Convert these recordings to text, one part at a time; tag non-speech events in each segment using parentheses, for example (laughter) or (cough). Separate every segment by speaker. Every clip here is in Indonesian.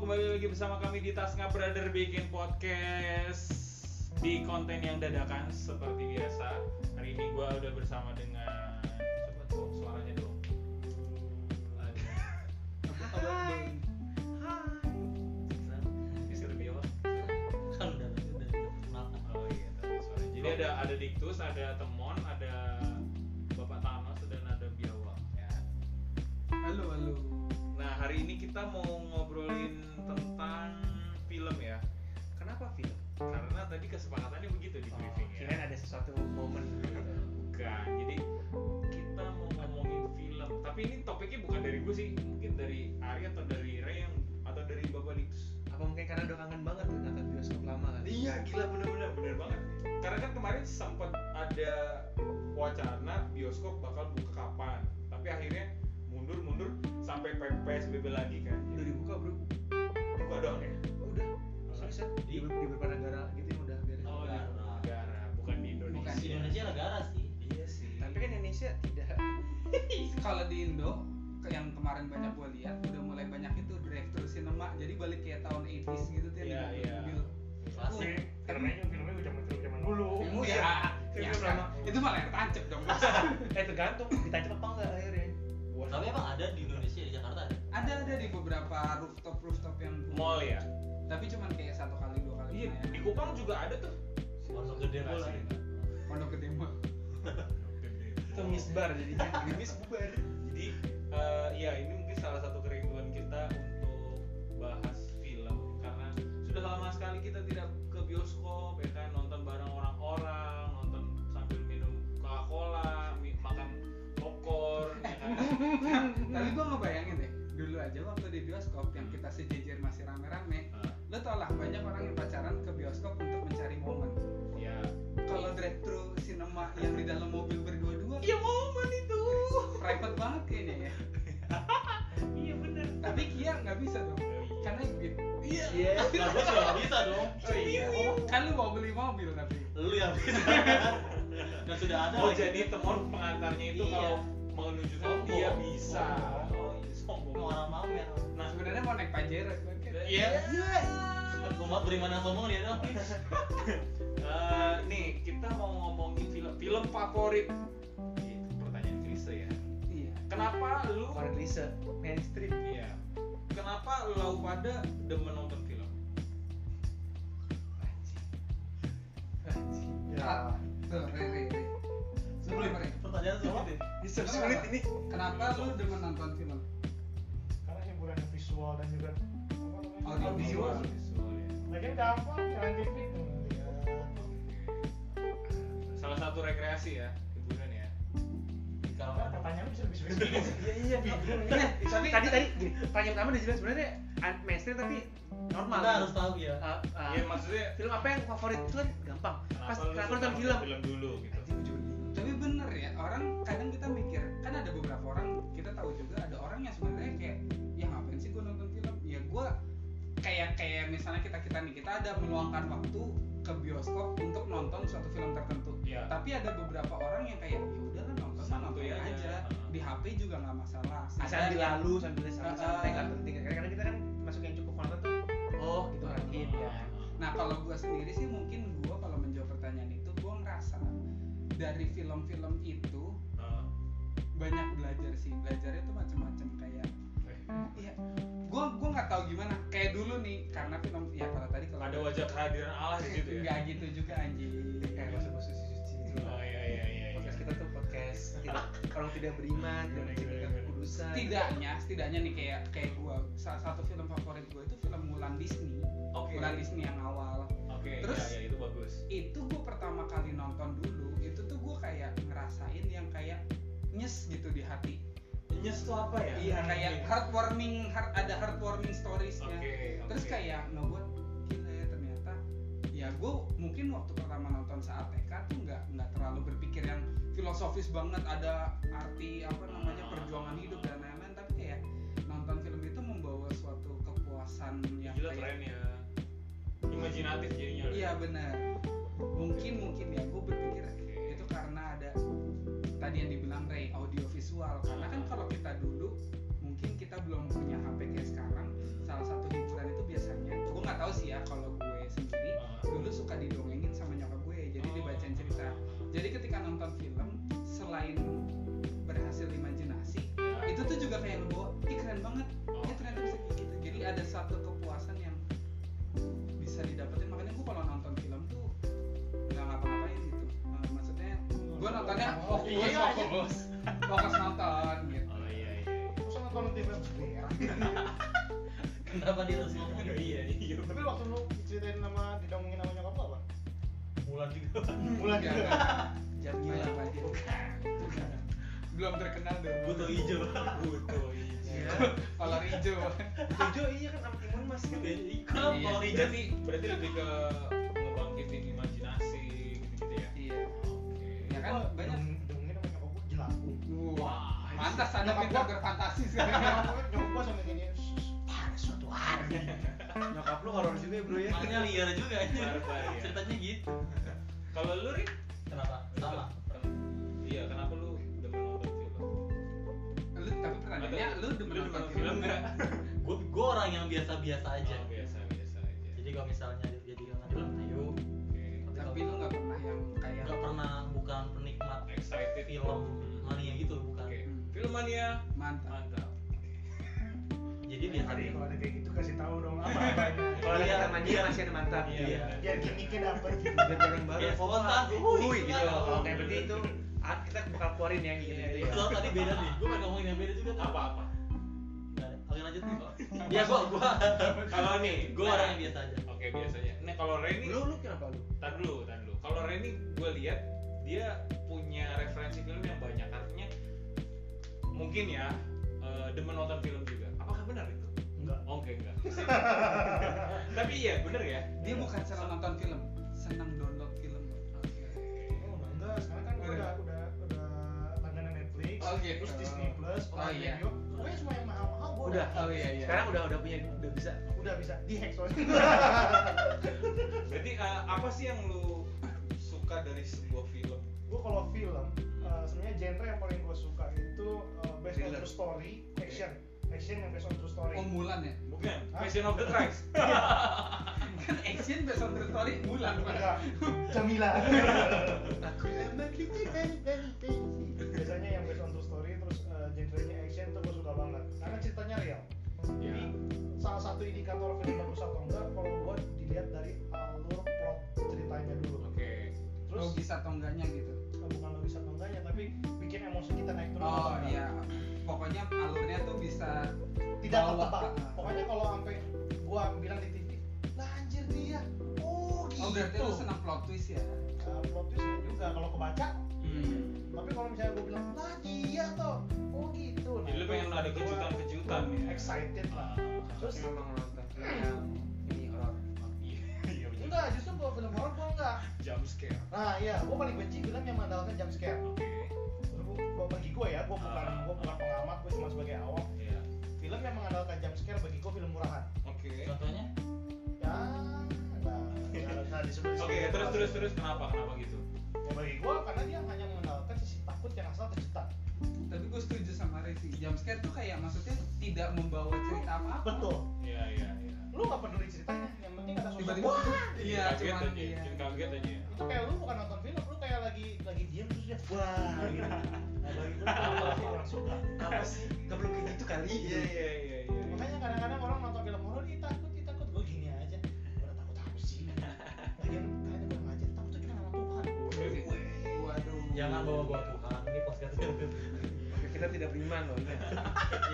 Speaker 1: bersama kami di Tasnya Brother bikin podcast di konten yang dadakan seperti biasa. Hari ini gua udah bersama dengan coba dong suaranya dong. Apa kabar?
Speaker 2: Hai. Hai.
Speaker 1: Ini Serbio.
Speaker 2: Kan udah udah udah perkenalkan.
Speaker 1: Oh iya, tadi suaranya. Jadi ada ada Diktus, ada Temon, ada Bapak Thanos dan ada Biawak ya.
Speaker 2: Halo, halo.
Speaker 1: Nah, hari ini kita mau ngobrolin tentang film ya. Kenapa film? Karena tadi kesepakatannya begitu di briefing ya.
Speaker 3: Iya.
Speaker 2: Kirain ada sesuatu momen gitu.
Speaker 1: Bukan. Kan, Jadi kita mau ngomongin film. Tapi ini topiknya bukan dari gue sih, mungkin dari Ari atau dari Ray yang atau dari Bapak Dix.
Speaker 2: Apa mungkin karena udah kangen banget tuh nonton bioskop lama kan?
Speaker 1: Iya, gila bener-bener bener banget. Karena kan kemarin sempat ada wacana bioskop bakal buka kapan. Tapi akhirnya mundur-mundur sampai PSBB lagi kan.
Speaker 2: Udah
Speaker 1: Jadi
Speaker 2: dibuka, Bro.
Speaker 1: buka dong ya.
Speaker 2: Udah. Seriusan di,
Speaker 3: Iya.
Speaker 1: Di-
Speaker 2: di beberapa negara gitu yang udah beres.
Speaker 1: Oh, di
Speaker 4: Negara.
Speaker 1: negara, bukan di Indonesia.
Speaker 4: Bukan di Indonesia negara sih.
Speaker 1: Iya sih.
Speaker 2: Tapi kan Indonesia tidak.
Speaker 5: kalau di Indo ke- yang kemarin banyak gue lihat udah mulai banyak itu drive to cinema jadi balik kayak tahun 80s gitu tuh
Speaker 1: Iya,
Speaker 5: yang
Speaker 1: iya.
Speaker 5: mobil-mobil.
Speaker 4: Klasik.
Speaker 3: filmnya juga filmnya udah zaman zaman dulu Iya.
Speaker 5: Filmmu
Speaker 2: Iya.
Speaker 5: ya,
Speaker 1: Film
Speaker 5: ya,
Speaker 1: lama.
Speaker 5: kan? itu malah yang tancep dong Mas.
Speaker 2: eh tergantung ditancap apa enggak akhirnya.
Speaker 4: Tapi emang ada di Indonesia di Jakarta ada.
Speaker 5: ada ada di beberapa rooftop rooftop yang
Speaker 1: mall ya.
Speaker 5: tapi cuman kayak satu kali dua kali
Speaker 1: Iya,
Speaker 5: lumayan.
Speaker 1: di Kupang juga ada tuh.
Speaker 4: Pondok gede
Speaker 1: Nggak
Speaker 4: bola.
Speaker 1: sih.
Speaker 5: pondok gede mah
Speaker 3: Oh.
Speaker 2: Itu misbar jadinya.
Speaker 1: Grimis bubar. Jadi eh, ya ini mungkin salah satu kerinduan kita untuk bahas film karena sudah lama sekali kita tidak ke bioskop ya kan nonton bareng orang-orang, nonton sambil minum Coca-Cola, mi- makan popcorn ya (laughs) kan.
Speaker 5: tapi gue ngebayangin deh dulu aja waktu di bioskop yang kita sejejer masih rame-rame
Speaker 1: Eh,
Speaker 5: lo tau lah banyak orang yang pacaran ke bioskop untuk mencari momen
Speaker 1: ya.
Speaker 5: kalau drive thru cinema yang di dalam mobil berdua-dua
Speaker 1: Iya momen itu.
Speaker 5: private banget kayaknya ya
Speaker 1: Iya benar.
Speaker 5: tapi Kia nggak bisa dong karena duit iya
Speaker 2: Iya.
Speaker 4: (laughs) Nah, gua juga nggak bisa dong.
Speaker 5: oh, iya kan lu mau beli mobil tapi
Speaker 4: Lu yang (laughs) bisa. Dan sudah ada.
Speaker 1: Oh
Speaker 4: lagi.
Speaker 1: jadi teman pengantarnya itu
Speaker 4: Iya.
Speaker 1: kalau menuju ke
Speaker 4: Sombong.
Speaker 1: dia Iya, bisa. Oh,
Speaker 4: Sombong.
Speaker 1: iya,
Speaker 4: Ini
Speaker 1: sombong.
Speaker 4: orang mamer.
Speaker 5: nah sebenarnya mau naik pajero cuman kan
Speaker 1: Iya.
Speaker 4: Umat beriman yang sombong dia dong.
Speaker 1: Eh, nih kita mau ngomongin film film favorit. Gitu, pertanyaan klise ya.
Speaker 5: iya
Speaker 1: Kenapa lu?
Speaker 2: Favorit Lisa, Oh. mainstream.
Speaker 1: Iya. Kenapa lu pada demen nonton film?
Speaker 2: Anjing.
Speaker 3: Ya,
Speaker 5: Ah, tuh re re re sebelum re
Speaker 4: Pertanyaan semua.
Speaker 2: Bisa
Speaker 5: Kenapa?
Speaker 2: sulit ini.
Speaker 5: kenapa lu demen nonton film
Speaker 3: karena hiburan visual dan juga apa namanya,
Speaker 5: Audiovisual.
Speaker 3: audio. lagian gampang jalan TV tuh ya.
Speaker 1: Salah satu rekreasi ya, hiburan ya.
Speaker 4: Di
Speaker 3: Karena
Speaker 4: kamar.
Speaker 3: pertanyaan bisa lebih sulit iya
Speaker 2: Iya, bingung.
Speaker 5: Eh,
Speaker 2: Tapi tadi tadi gini, pertanyaan pertama udah jelas sebenarnya an- mainstream tapi normal.
Speaker 4: Kita harus tahu ya.
Speaker 2: Ah, ah.
Speaker 1: Iya maksudnya
Speaker 2: film apa yang favorit itu kan gampang pas
Speaker 1: lu
Speaker 2: kenapa
Speaker 1: suka
Speaker 2: nonton film
Speaker 1: dulu gitu.
Speaker 2: Anjing, jujur.
Speaker 5: tapi bener ya orang kadang kita mikir kan ada beberapa orang kita tahu juga ada orang yang sebenarnya kayak ya ngapain sih gue nonton film ya gue kayak kayak misalnya kita kita nih kita ada meluangkan waktu ke bioskop untuk nonton suatu film tertentu
Speaker 1: Iya.
Speaker 5: tapi ada beberapa orang yang kayak ya udah lah nonton mah nonton
Speaker 1: Santuy
Speaker 5: aja,
Speaker 1: aja.
Speaker 5: di HP juga nggak masalah
Speaker 2: sambil
Speaker 5: yang-
Speaker 2: lalu
Speaker 1: iya.
Speaker 2: sambil sambil
Speaker 5: Ah,
Speaker 2: santai
Speaker 5: ah.
Speaker 2: nggak penting kadang-kadang kita kan masuk yang cukup nonton tuh oh gitu akhir ya
Speaker 5: Nah kalau gue sendiri sih mungkin gue kalau menjawab pertanyaan itu gue ngerasa dari film-film itu
Speaker 1: Heeh.
Speaker 5: banyak belajar sih belajarnya tuh macam-macam kayak
Speaker 1: eh.
Speaker 5: ya gue gue nggak tahu gimana kayak dulu nih karena film ya kalau tadi kalau
Speaker 1: Ada wajah kehadiran Allah di situ ya. Eh,
Speaker 5: nggak gitu juga anjing
Speaker 2: kayak Eh, masuk masuk suci suci gitu loh.
Speaker 1: Oh iya iya iya.
Speaker 2: podcast kita tuh podcast tidak,
Speaker 1: (laughs)
Speaker 2: orang tidak beriman tidak
Speaker 1: Gimana,
Speaker 2: menjaga
Speaker 1: gimana,
Speaker 2: kekudusan
Speaker 5: setidaknya setidaknya nih kayak kayak gue salah satu film favorit gue itu film Mulan Disney
Speaker 1: Oke.
Speaker 5: Mulan Disney yang awal
Speaker 1: Oke.
Speaker 5: Terus-
Speaker 1: ya, ya, itu bagus.
Speaker 5: itu gue pertama kali nonton dulu itu tuh gue kayak ngerasain yang kayak nyes gitu di hati
Speaker 1: Nyes tuh apa ya?
Speaker 5: iya kayak heartwarming heart, ada heartwarming
Speaker 1: Oke.
Speaker 5: storiesnya
Speaker 1: oke.
Speaker 5: ya. terus kayak ngebuat gila ya ternyata ya gue mungkin waktu pertama nonton saat TK tuh nggak nggak terlalu berpikir yang filosofis banget ada arti apa namanya
Speaker 1: Hmm.
Speaker 5: perjuangan hidup dan lain-lain tapi kayak nonton film itu membawa suatu kepuasan yang
Speaker 1: gila
Speaker 5: kayak-
Speaker 1: keren ya. Imajinatif jadinya. lu.
Speaker 5: Iya benar. Mungkin mungkin ya gue berpikir itu karena ada tadi yang dibilang Ray audio visual. Karena kan kalau kita dulu mungkin kita belum punya HP kayak sekarang. Salah satu hiburan itu biasanya nggak tahu sih ya kalau gue sendiri
Speaker 1: Oh,
Speaker 5: dulu suka didongengin sama nyokap gue
Speaker 4: Oh.
Speaker 5: jadi dibacain cerita jadi ketika nonton film selain berhasil imajinasi
Speaker 4: Iya.
Speaker 5: itu tuh juga kayak ngebawa ih keren banget
Speaker 4: Oh.
Speaker 5: ya ternyata bisa kayak gitu jadi ada satu kepuasan yang bisa didapetin makanya gue kalau nonton film tuh nggak ngapa-ngapain gitu Eh, maksudnya gue nontonnya fokus
Speaker 4: Iya, iya.
Speaker 5: fokus fokus nonton gitu
Speaker 4: Oh iya iya.
Speaker 3: Masa nonton di film sendiri?
Speaker 4: Kenapa dia harus ngomong? Iya iya.
Speaker 3: Tapi waktu lu diceritain sama didongengin sama nyokap lu apa?
Speaker 4: Mulan juga.
Speaker 3: Mulan
Speaker 5: Nggak,
Speaker 3: juga.
Speaker 5: nggak. Jangan
Speaker 4: Iya.
Speaker 5: apa belum terkenal deh
Speaker 4: Butuh hijau. Butuh
Speaker 2: Iya.
Speaker 4: hijau.
Speaker 5: kolor hijau
Speaker 2: Tujuh iya kan sama timun mas kan.
Speaker 4: Kenapa
Speaker 5: Iya.
Speaker 4: kalau hijau
Speaker 1: berarti
Speaker 4: sih?
Speaker 1: berarti lebih ke ngebangkitin imajinasi gitu-gitu ya
Speaker 5: iya
Speaker 1: oke
Speaker 5: ya kan
Speaker 3: Gua
Speaker 5: banyak
Speaker 3: didongengin- Didongengin sama nyokap gue (laughs) jelas.
Speaker 5: Wah,
Speaker 1: wah
Speaker 5: pantas ada
Speaker 3: Nyokap
Speaker 5: pintar
Speaker 3: gua-
Speaker 5: berfantasi sih.
Speaker 3: Nyokap gue Iya, nyokap gue sampe gini. "Shh, shh, Pada suatu hari.
Speaker 2: Nyokap lu horor juga ya bro ya.
Speaker 1: Iya.
Speaker 4: Makanya liar juga aja.
Speaker 1: Barbar, ya.
Speaker 4: Ceritanya gitu.
Speaker 1: kalau lu Rin
Speaker 4: Kenapa? Sama.
Speaker 1: iya kenapa lu demen nonton film
Speaker 5: Lu tapi pertanyaannya lu udah menonton film enggak?
Speaker 4: Gue gue orang yang biasa-biasa aja.
Speaker 1: Oh, biasa biasa aja
Speaker 4: Jadi kalau misalnya jadi kangen film, ayo.
Speaker 1: oke
Speaker 5: Tapi lu nggak pernah yang kayak
Speaker 4: Gak pernah bukan penikmat
Speaker 1: excited
Speaker 4: film mania gitu bukan.
Speaker 1: oke film mania
Speaker 5: mantap.
Speaker 1: mantap
Speaker 4: Jadi biasa aja.
Speaker 3: Tadi
Speaker 4: Iya,
Speaker 3: kalau ada kayak gitu kasih tahu dong apa apanya.
Speaker 2: Kalau ada kata manja masih ada mantap.
Speaker 1: Iya.
Speaker 3: Biar gimmicknya dapet.
Speaker 2: Biar bareng-bareng.
Speaker 4: Ya, spontan.
Speaker 2: Wuih,
Speaker 4: Wuih,
Speaker 2: gitu.
Speaker 4: gitu.
Speaker 2: Oke, berarti itu ah, kita bakal keluarin yang
Speaker 4: Iya,
Speaker 2: gitu gitu
Speaker 1: Iya.
Speaker 2: ya.
Speaker 4: Soal tadi beda nih. Gue pengen ngomongin yang beda juga. tuh.
Speaker 1: apa apa
Speaker 4: Nggak ada. Oke lanjut nih. Ya gue gue
Speaker 1: kalau nih
Speaker 4: gue
Speaker 1: nah,
Speaker 4: orang yang biasa aja.
Speaker 1: oke biasanya nah kalau Reni
Speaker 2: Lu lu kenapa lu?
Speaker 1: Tahan dulu, tahan dulu. Kalau Reni gue lihat dia punya referensi film yang banyak artinya mungkin ya eh, demen nonton film juga. Apakah benar itu?
Speaker 3: Enggak.
Speaker 1: Oh, Oke, (laughs) enggak. Tapi iya, benar ya.
Speaker 5: Dia bukan senang nonton film, senang download film. Oke.
Speaker 3: Oh, enggak, sekarang kan gua udah udah udah langganan Netflix,
Speaker 5: Oh, gitu.
Speaker 3: terus Disney Plus,
Speaker 5: Oh,
Speaker 3: Prime
Speaker 5: iya.
Speaker 3: Video. Pokoknya semua yang mahal-mahal gua
Speaker 2: Udah.
Speaker 5: (laughs) Oh iya iya.
Speaker 2: Sekarang udah udah punya udah bisa.
Speaker 3: udah bisa dihack soalnya.
Speaker 5: (laughs)
Speaker 1: Berarti eh, apa sih yang lu suka dari sebuah film?
Speaker 3: Gua kalau film eh, sebenarnya genre yang paling gua suka itu eh, based on
Speaker 2: Thriller.
Speaker 3: true story, action. Action yang based on true story.
Speaker 5: Oh Mulan ya? (laughs)
Speaker 1: Bukan,
Speaker 3: Hah?
Speaker 1: Passion of the Christ.
Speaker 5: Kan action based on true story Mulan
Speaker 3: Enggak.
Speaker 5: (laughs) Pak.
Speaker 3: Camila.
Speaker 2: Aku lembek
Speaker 3: Biasanya yang based on true story terus eh, genrenya action tuh gua suka banget. Karena ceritanya real.
Speaker 1: (laughs) Ya.
Speaker 3: Jadi salah satu indikator film bagus atau enggak kalau gua dilihat dari alur plot ceritanya dulu.
Speaker 1: Oke.
Speaker 3: Terus
Speaker 5: Logis atau enggaknya Oh, gitu.
Speaker 3: Nah, bukan logis atau enggaknya tapi bikin emosi kita naik turun atau
Speaker 5: Oh
Speaker 3: enggak.
Speaker 5: iya. Pokoknya alurnya tuh bisa
Speaker 3: tidak
Speaker 5: Bawa.
Speaker 3: ketebak pokoknya kalau sampai gua bilang di TV lah anjir dia oh gitu
Speaker 5: Oh berarti lu senang plot twist ya?
Speaker 3: Nah, plot twist nggak juga kalau kebaca
Speaker 5: Hmm.
Speaker 3: tapi kalau misalnya gua bilang lah dia toh oh gitu
Speaker 1: Jadi lu pengen ada kejutan-kejutan ya.
Speaker 3: excited lah terus
Speaker 2: Memang nonton film yang ini horor.
Speaker 1: Iya, iya bener.
Speaker 3: enggak justru kalau film horor gua enggak
Speaker 1: Jump scare.
Speaker 3: nah iya gua paling benci film yang mengandalkan jump scare
Speaker 1: Oke.
Speaker 3: gua bagi gua ya gua bukan
Speaker 1: Ah.
Speaker 3: gua bukan pengamat gua cuma sebagai awam
Speaker 1: Iya.
Speaker 3: film yang mengandalkan jump scare bagi gua film murahan
Speaker 1: Oke.
Speaker 4: Contohnya?
Speaker 3: ya nah, nah disebut
Speaker 1: Oke, terus terus terus kenapa? Kenapa gitu?
Speaker 3: ya bagi gua karena dia hanya mengandalkan sisi takut yang asal tercipta
Speaker 5: Tapi gue setuju sama Resi. Jump scare tuh kayak maksudnya tidak membawa cerita apa-apa.
Speaker 3: betul
Speaker 1: Iya, iya, iya.
Speaker 3: lu gak peduli ceritanya yang penting ada sosok
Speaker 5: Tiba-tiba
Speaker 3: wah
Speaker 5: Iya,
Speaker 1: kaget
Speaker 5: cuman
Speaker 1: aja,
Speaker 5: iya.
Speaker 1: bikin kaget aja. ya.
Speaker 3: itu kayak lu bukan nonton film lu kayak lagi lagi diem terus dia wah (laughs) gitu nah bagi gua itu kalau sih orang suka
Speaker 2: Apa sih? Gak perlu kayak gitu kali.
Speaker 1: Iya iya iya iya.
Speaker 3: makanya kadang-kadang orang nonton film horor ih takut ih takut gua gini aja udah takut apa sih Gitu. lagian kalian kurang aja takut tuh kita sama Tuhan
Speaker 5: Waduh.
Speaker 4: Jangan bawa-bawa Tuhan. Ini (laughs) podcast
Speaker 2: Oke, Kita tidak beriman loh. ingat.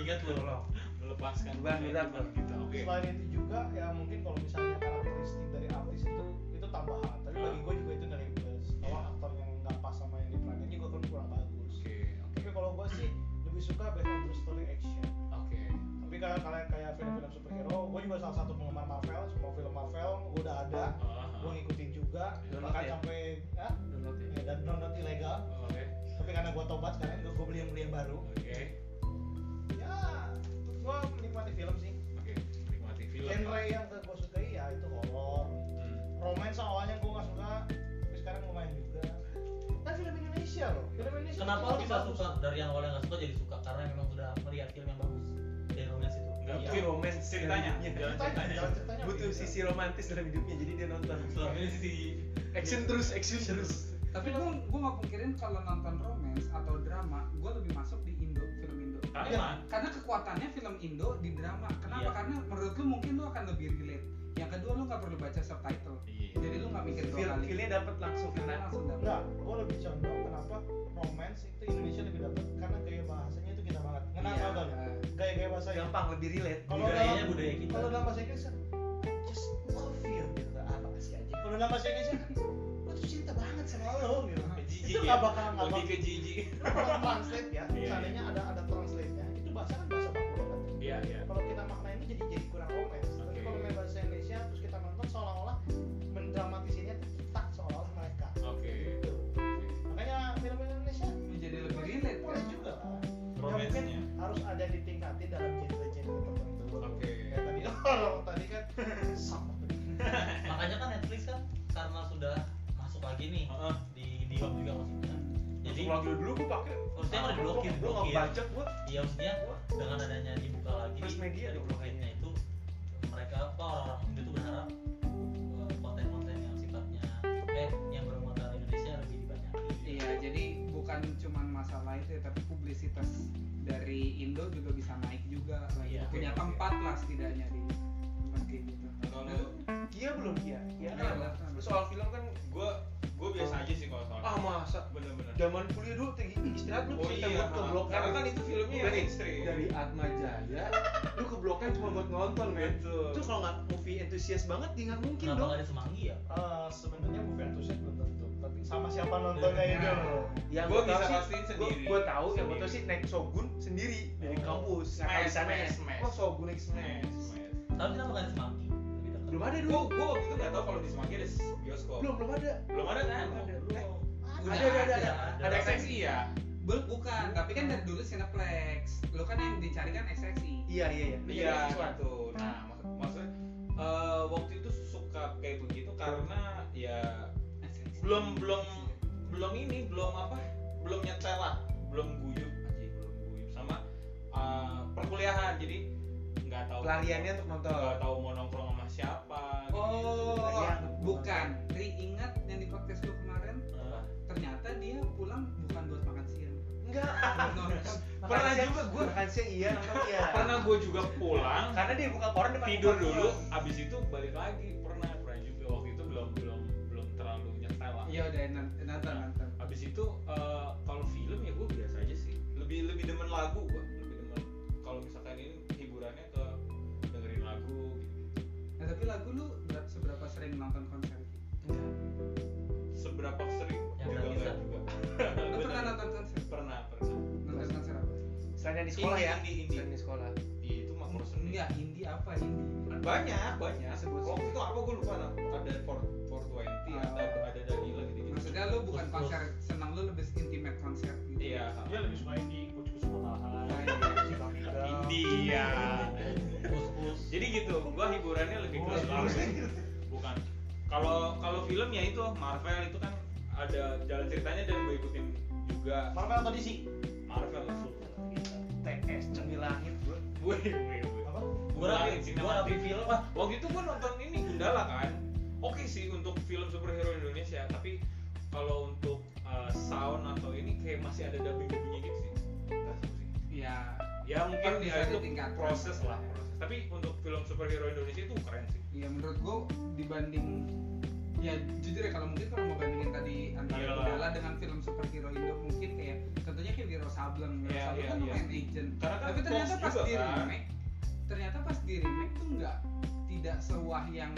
Speaker 4: Ingat lu loh.
Speaker 1: melepaskan
Speaker 2: Beban, beban,
Speaker 1: kehidupan kita. Oke.
Speaker 3: selain itu juga ya mungkin kalau misalnya karakteristik dari artis itu itu tambahan tapi bagi gua juga itu nilai plus kalau
Speaker 1: Iya.
Speaker 3: aktor yang nggak pas sama yang diperanin juga kan kurang bagus
Speaker 1: Oke.
Speaker 3: tapi kalau gue sih lebih suka based on true story action
Speaker 1: Oke.
Speaker 3: tapi kalau kalian kayak film-film superhero gue juga salah satu penggemar Marvel semua film Marvel gue udah ada
Speaker 1: Aha.
Speaker 3: gue ngikutin juga
Speaker 2: Ah. Download
Speaker 3: bahkan
Speaker 2: ya?
Speaker 3: sampai ya,
Speaker 2: Download ya.
Speaker 3: ya, dan download ilegal
Speaker 1: Oke.
Speaker 3: tapi karena gue tobat sekarang gue beli yang beli yang baru
Speaker 1: Oke.
Speaker 3: ya gue menikmati film sih
Speaker 1: Oke. Nikmati film.
Speaker 3: genre yang gue sukai ya itu horor
Speaker 1: Hmm.
Speaker 3: romance awalnya gue nggak suka tapi sekarang gue main juga kan film Indonesia loh film Indonesia
Speaker 4: Kenapa
Speaker 3: tuh
Speaker 4: lu bisa
Speaker 3: bagus.
Speaker 4: suka dari yang awalnya nggak suka jadi suka? Karena memang sudah melihat film yang bagus dari romance itu.
Speaker 1: Nggak
Speaker 3: Iya.
Speaker 2: butuh romance
Speaker 1: ceritanya
Speaker 2: dalam hidupnya.
Speaker 1: jalan
Speaker 3: Ceritanya,
Speaker 1: ceritanya
Speaker 3: jalan ceritanya
Speaker 2: butuh
Speaker 3: beda.
Speaker 2: sisi romantis dalam hidupnya jadi dia nonton
Speaker 1: selama ini si
Speaker 2: action terus action terus
Speaker 5: tapi gue gue nggak pungkirin kalau nonton romance atau drama gue lebih masuk di Indo film Indo
Speaker 4: Iya.
Speaker 1: Karena
Speaker 5: karena kekuatannya film Indo di drama kenapa
Speaker 1: Iya.
Speaker 5: karena menurut lu mungkin lu akan lebih relate yang kedua lu nggak perlu baca subtitle
Speaker 1: iya
Speaker 5: jadi lu nggak mikir
Speaker 2: feel
Speaker 5: dua kali
Speaker 2: feelnya dapat langsung
Speaker 5: Karena
Speaker 2: kena
Speaker 5: langsung dapet.
Speaker 3: Enggak, gue lebih condong kenapa romance itu Indonesia lebih dapat karena gaya bahasanya itu kita banget. Ngena
Speaker 5: Iya.
Speaker 3: yeah. banget. Gaya-gaya bahasa yang
Speaker 2: gampang lebih relate Iya.
Speaker 3: Kalau
Speaker 4: budayanya
Speaker 3: dalam-
Speaker 4: budaya kita.
Speaker 3: Kalau dalam bahasa Inggris kan, "I just love you gitu. Ah, makasih aja. Kalau dalam bahasa Indonesia kan, gue tuh cinta banget sama lo gitu.
Speaker 1: Jijik
Speaker 3: Itu
Speaker 1: ya?
Speaker 3: nggak bakal nggak
Speaker 1: lebih
Speaker 3: bakal.
Speaker 1: ke jijik
Speaker 3: Lu bakal translate ya.
Speaker 1: Iya,
Speaker 3: Seandainya ada ada translate nya, itu bahasa kan bahasa baku banget. Nah,
Speaker 1: iya iya
Speaker 3: Kalau kita maknainnya jadi jadi kurang romance. Tapi
Speaker 1: Oke.
Speaker 3: kalau main bahasa Indonesia terus kita nonton seolah-olah mendramatisinya tuh kita seolah-olah mereka.
Speaker 1: oke
Speaker 3: Gitu. Makanya film Indonesia
Speaker 5: menjadi lebih relate
Speaker 3: boleh
Speaker 5: kan?
Speaker 3: juga lah.
Speaker 1: romance nya
Speaker 3: harus ada ditingkatin dalam genre-genre tertentu.
Speaker 1: Oke.
Speaker 3: Ya, tadi (laughs) kalau tadi kan sama.
Speaker 4: Makanya kan Netflix kan karena sudah masuk lagi nih
Speaker 1: Heeh.
Speaker 4: di di hub juga maksudnya. Jadi
Speaker 2: Masuk lagi dulu gue pakai
Speaker 4: harusnya mau diblokir,
Speaker 2: gue nggak
Speaker 4: diblokir.
Speaker 2: baca gue
Speaker 4: Iya maksudnya dengan adanya dibuka lagi
Speaker 2: Terus media
Speaker 4: dari
Speaker 2: dong
Speaker 4: blokirnya itu mereka apa orang-orang Indo tuh berharap eh, konten-konten yang sifatnya eh yang bermuatan Indonesia lebih dibanyakin.
Speaker 5: iya jadi bukan cuman masalah itu ya, tapi publisitas dari Indo juga bisa naik juga lagi
Speaker 4: Iya.
Speaker 5: punya
Speaker 2: Oke, oke.
Speaker 5: tempat lah setidaknya di tempat kayak gitu
Speaker 1: Kalau lu-
Speaker 2: Kia belum Kia Kia
Speaker 5: Iya,
Speaker 2: kan
Speaker 5: belum.
Speaker 2: soal film kan
Speaker 1: gue gue biasa aja sih kalau soal
Speaker 2: ah masa
Speaker 1: Oh. bener-bener
Speaker 2: zaman kuliah dulu tinggi istirahat lu
Speaker 1: Oh
Speaker 2: cerita
Speaker 1: iya,
Speaker 2: buat ke blok
Speaker 1: karena kan itu filmnya
Speaker 2: Udah
Speaker 1: yang
Speaker 2: nih,
Speaker 1: mainstream.
Speaker 2: dari Atma Jaya lu ke bloknya cuma buat nonton men
Speaker 1: Betul.
Speaker 2: itu kalau nggak movie entusias banget ya nggak mungkin
Speaker 4: Kenapa
Speaker 2: dong
Speaker 4: nggak ada semanggi ya?
Speaker 3: Eh, sebenarnya movie antusias belum tentu, tapi sama siapa
Speaker 5: Nah,
Speaker 3: nontonnya itu.
Speaker 2: yang
Speaker 1: Gua
Speaker 2: Iya, gua tahu
Speaker 1: bisa
Speaker 2: sih,
Speaker 1: pastiin
Speaker 2: gua,
Speaker 1: sendiri.
Speaker 2: gua tahu yang gua
Speaker 1: Sendiri.
Speaker 2: tahu sih naik Shogun sendiri dari
Speaker 3: Oh.
Speaker 2: kampus
Speaker 1: Smash,
Speaker 2: Nah, sana
Speaker 1: smash,
Speaker 2: ya.
Speaker 1: smash.
Speaker 2: oh Shogun naik smash
Speaker 1: Smash, smash.
Speaker 4: Tapi kenapa nggak ada semanggi? Lebih dekat.
Speaker 2: belum ada
Speaker 1: Gue
Speaker 2: dulu
Speaker 1: gue waktu itu nggak tahu kalau di Semanggi ada bioskop.
Speaker 2: belum belum ada
Speaker 1: Belum ada kan?
Speaker 2: Belum ada.
Speaker 1: Belum.
Speaker 2: ada
Speaker 4: Udah
Speaker 2: ada ada
Speaker 4: ada,
Speaker 2: ada ada
Speaker 4: ada.
Speaker 1: SXI
Speaker 2: SXI
Speaker 1: ya?
Speaker 5: Bel- bukan tapi kan dari dulu Cineplex lu kan yang dicari kan SXI
Speaker 2: iya iya iya
Speaker 1: Iya
Speaker 2: Ada SXI.
Speaker 1: gitu. Nah maksud maksudnya eh, waktu itu suka kayak begitu karena ya
Speaker 5: SXI.
Speaker 1: belum belum belum ini belum apa belum nyetel lah belum guyup aja belum guyup sama eh, perkuliahan jadi nggak tahu
Speaker 2: pelariannya untuk nonton
Speaker 1: nggak tahu mau nongkrong sama siapa gitu.
Speaker 5: oh
Speaker 2: Iya.
Speaker 5: bukan Ri ingat yang di podcast lu kemarin ternyata dia pulang bukan buat makan siang
Speaker 2: enggak
Speaker 1: (laughs)
Speaker 5: Nonton.
Speaker 2: Makan
Speaker 1: Pernah
Speaker 2: siang-
Speaker 1: juga gua.
Speaker 2: makan siang iya
Speaker 1: (laughs)
Speaker 2: nonton iya
Speaker 1: pernah gue juga pulang
Speaker 2: karena dia buka koran depan
Speaker 1: tidur
Speaker 2: kosan
Speaker 1: dulu
Speaker 2: gua.
Speaker 1: abis itu balik lagi pernah pernah juga waktu itu belum belum belum terlalu nyetel lah
Speaker 5: iya udah nonton nonton nonton.
Speaker 1: abis itu eh, kalau film ya gue biasa aja sih lebih lebih demen lagu gue lebih demen kalau misalkan ini hiburannya ke dengerin lagu gitu
Speaker 5: nah tapi lagu lu ber- seberapa sering nonton konser
Speaker 2: Enggak.
Speaker 1: seberapa sering
Speaker 4: Yang
Speaker 1: juga
Speaker 4: gratisan.
Speaker 1: enggak
Speaker 5: (laughs)
Speaker 1: juga
Speaker 5: lu pernah
Speaker 1: Bener.
Speaker 5: nonton konser
Speaker 1: pernah pernah
Speaker 5: nonton konser apa
Speaker 2: selain yang di sekolah
Speaker 1: Indie,
Speaker 2: ya
Speaker 1: indie, indie.
Speaker 2: selain di sekolah
Speaker 1: Iya, itu mah kursus seni
Speaker 5: enggak indie apa indie
Speaker 1: banyak banyak
Speaker 2: Sebut-
Speaker 1: waktu itu apa gue lupa nah. ada for for twenty
Speaker 5: Ah.
Speaker 1: ada ada Danila gitu gitu
Speaker 5: maksudnya lu bukan
Speaker 4: Terus,
Speaker 5: konser senang lu lebih intimate konser gitu
Speaker 1: iya
Speaker 3: Dia lebih suka ini, gue cukup suka malahan.
Speaker 5: Nah, iya.
Speaker 1: India
Speaker 4: Pus-pus.
Speaker 1: jadi gitu gua hiburannya lebih ke lagu bukan kalau kalau film ya itu Marvel itu kan ada jalan ceritanya dan gue ikutin juga
Speaker 3: Marvel atau DC?
Speaker 1: Marvel full
Speaker 2: TS cemil langit bro
Speaker 1: gue gue gue
Speaker 3: Apa?
Speaker 4: Gua rapi, gua rapi film ah.
Speaker 1: waktu itu gue nonton ini Gundala kan oke sih untuk film superhero Indonesia tapi kalau untuk uh, sound atau ini kayak masih ada dubbing dubbingnya gitu sih Nggak tahu sih.
Speaker 5: iya
Speaker 1: ya mungkin
Speaker 5: Kan bisa
Speaker 1: ya, itu
Speaker 5: ditingkatkan.
Speaker 1: proses lah proses. tapi untuk film superhero Indonesia itu keren sih
Speaker 5: Iya menurut gua dibanding ya jujur ya kalau mungkin kalau mau bandingin tadi antara
Speaker 1: Iyalah.
Speaker 5: Gundala dengan film superhero Indo mungkin kayak tentunya kayak Wiro Sableng Wiro
Speaker 1: Iya,
Speaker 5: Sableng
Speaker 1: iya,
Speaker 5: kan
Speaker 1: iya.
Speaker 5: lumayan agent
Speaker 1: Karena kan
Speaker 5: tapi ternyata
Speaker 1: Fox
Speaker 5: pas
Speaker 1: juga
Speaker 5: di
Speaker 1: kan.
Speaker 5: remake ternyata pas di remake tuh nggak tidak sewah yang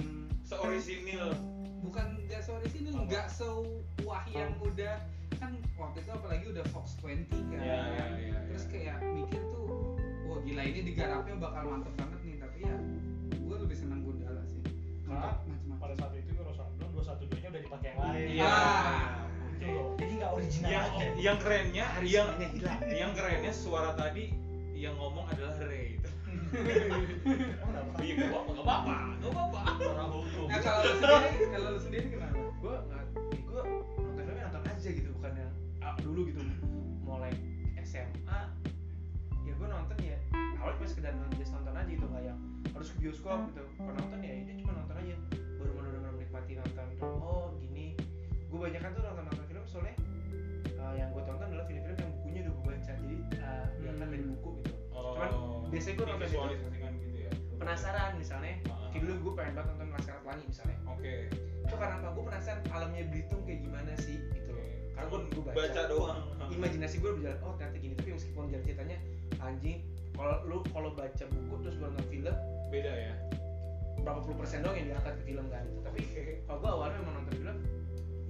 Speaker 1: seorisinil
Speaker 5: bukan nggak sewah di sini
Speaker 1: Apa?
Speaker 5: nggak sewah yang udah kan waktu itu apalagi udah Fox 20
Speaker 1: Iya,
Speaker 5: kan
Speaker 1: iya, iya,
Speaker 5: terus
Speaker 1: iya.
Speaker 5: kayak mikir tuh wah gila ini digarapnya bakal mantep banget nih tapi ya gue lebih seneng Gundala sih
Speaker 3: Karena
Speaker 5: macam-macam
Speaker 3: Pada saat itu gue Rosan belum dua satu duanya udah dipakai yang lain. Gitu.
Speaker 1: Iya.
Speaker 5: Ah.
Speaker 3: Itu loh. Jadi nggak
Speaker 2: Nah,
Speaker 3: original
Speaker 1: yang
Speaker 3: aja.
Speaker 1: yang kerennya yang
Speaker 2: Karismanya oh. hilang
Speaker 1: yang kerennya suara tadi yang ngomong adalah Ray
Speaker 2: (laughs)
Speaker 1: itu
Speaker 3: Oh, nggak apa-apa.
Speaker 1: Iya, nggak apa-apa, nggak apa-apa, nggak apa-apa.
Speaker 4: Orang hukum.
Speaker 5: Nah kalau lu sendiri, kalau lu sendiri kenapa?
Speaker 2: gue nggak gue nonton filmnya nonton aja gitu bukan yang ah, dulu gitu mulai SMA ya gue nonton ya awalnya cuma sekedar nonton just nonton aja gitu nggak yang harus ke bioskop gitu kalau nonton ya ini cuma nonton aja baru benar-benar menikmati nonton oh gini gue banyak kan tuh nonton nonton film soalnya eh, yang gue tonton adalah film-film yang bukunya udah gue baca jadi eh, kelihatan dari buku gitu
Speaker 1: Oh.
Speaker 2: Cuman biasanya gua nonton itu.
Speaker 1: visualisasikan gitu ya.
Speaker 2: penasaran misalnya
Speaker 1: Ah.
Speaker 2: kayak dulu Gitu. gue pengen banget nonton Laskar Pelangi misalnya
Speaker 1: Oke.
Speaker 2: itu karena apa gue penasaran alamnya Belitung kayak gimana sih gitu loh karena
Speaker 1: Karena
Speaker 2: gue
Speaker 1: gue
Speaker 2: baca,
Speaker 1: baca doang.
Speaker 2: imajinasi gue berjalan oh ternyata gini tapi meskipun jalan ceritanya anjing kalau lu kalau baca buku terus gue nonton film
Speaker 1: Beda
Speaker 2: (laughs)
Speaker 1: ya.
Speaker 2: berapa puluh persen doang yang diangkat ke film kan tapi kalau gue awalnya memang nonton film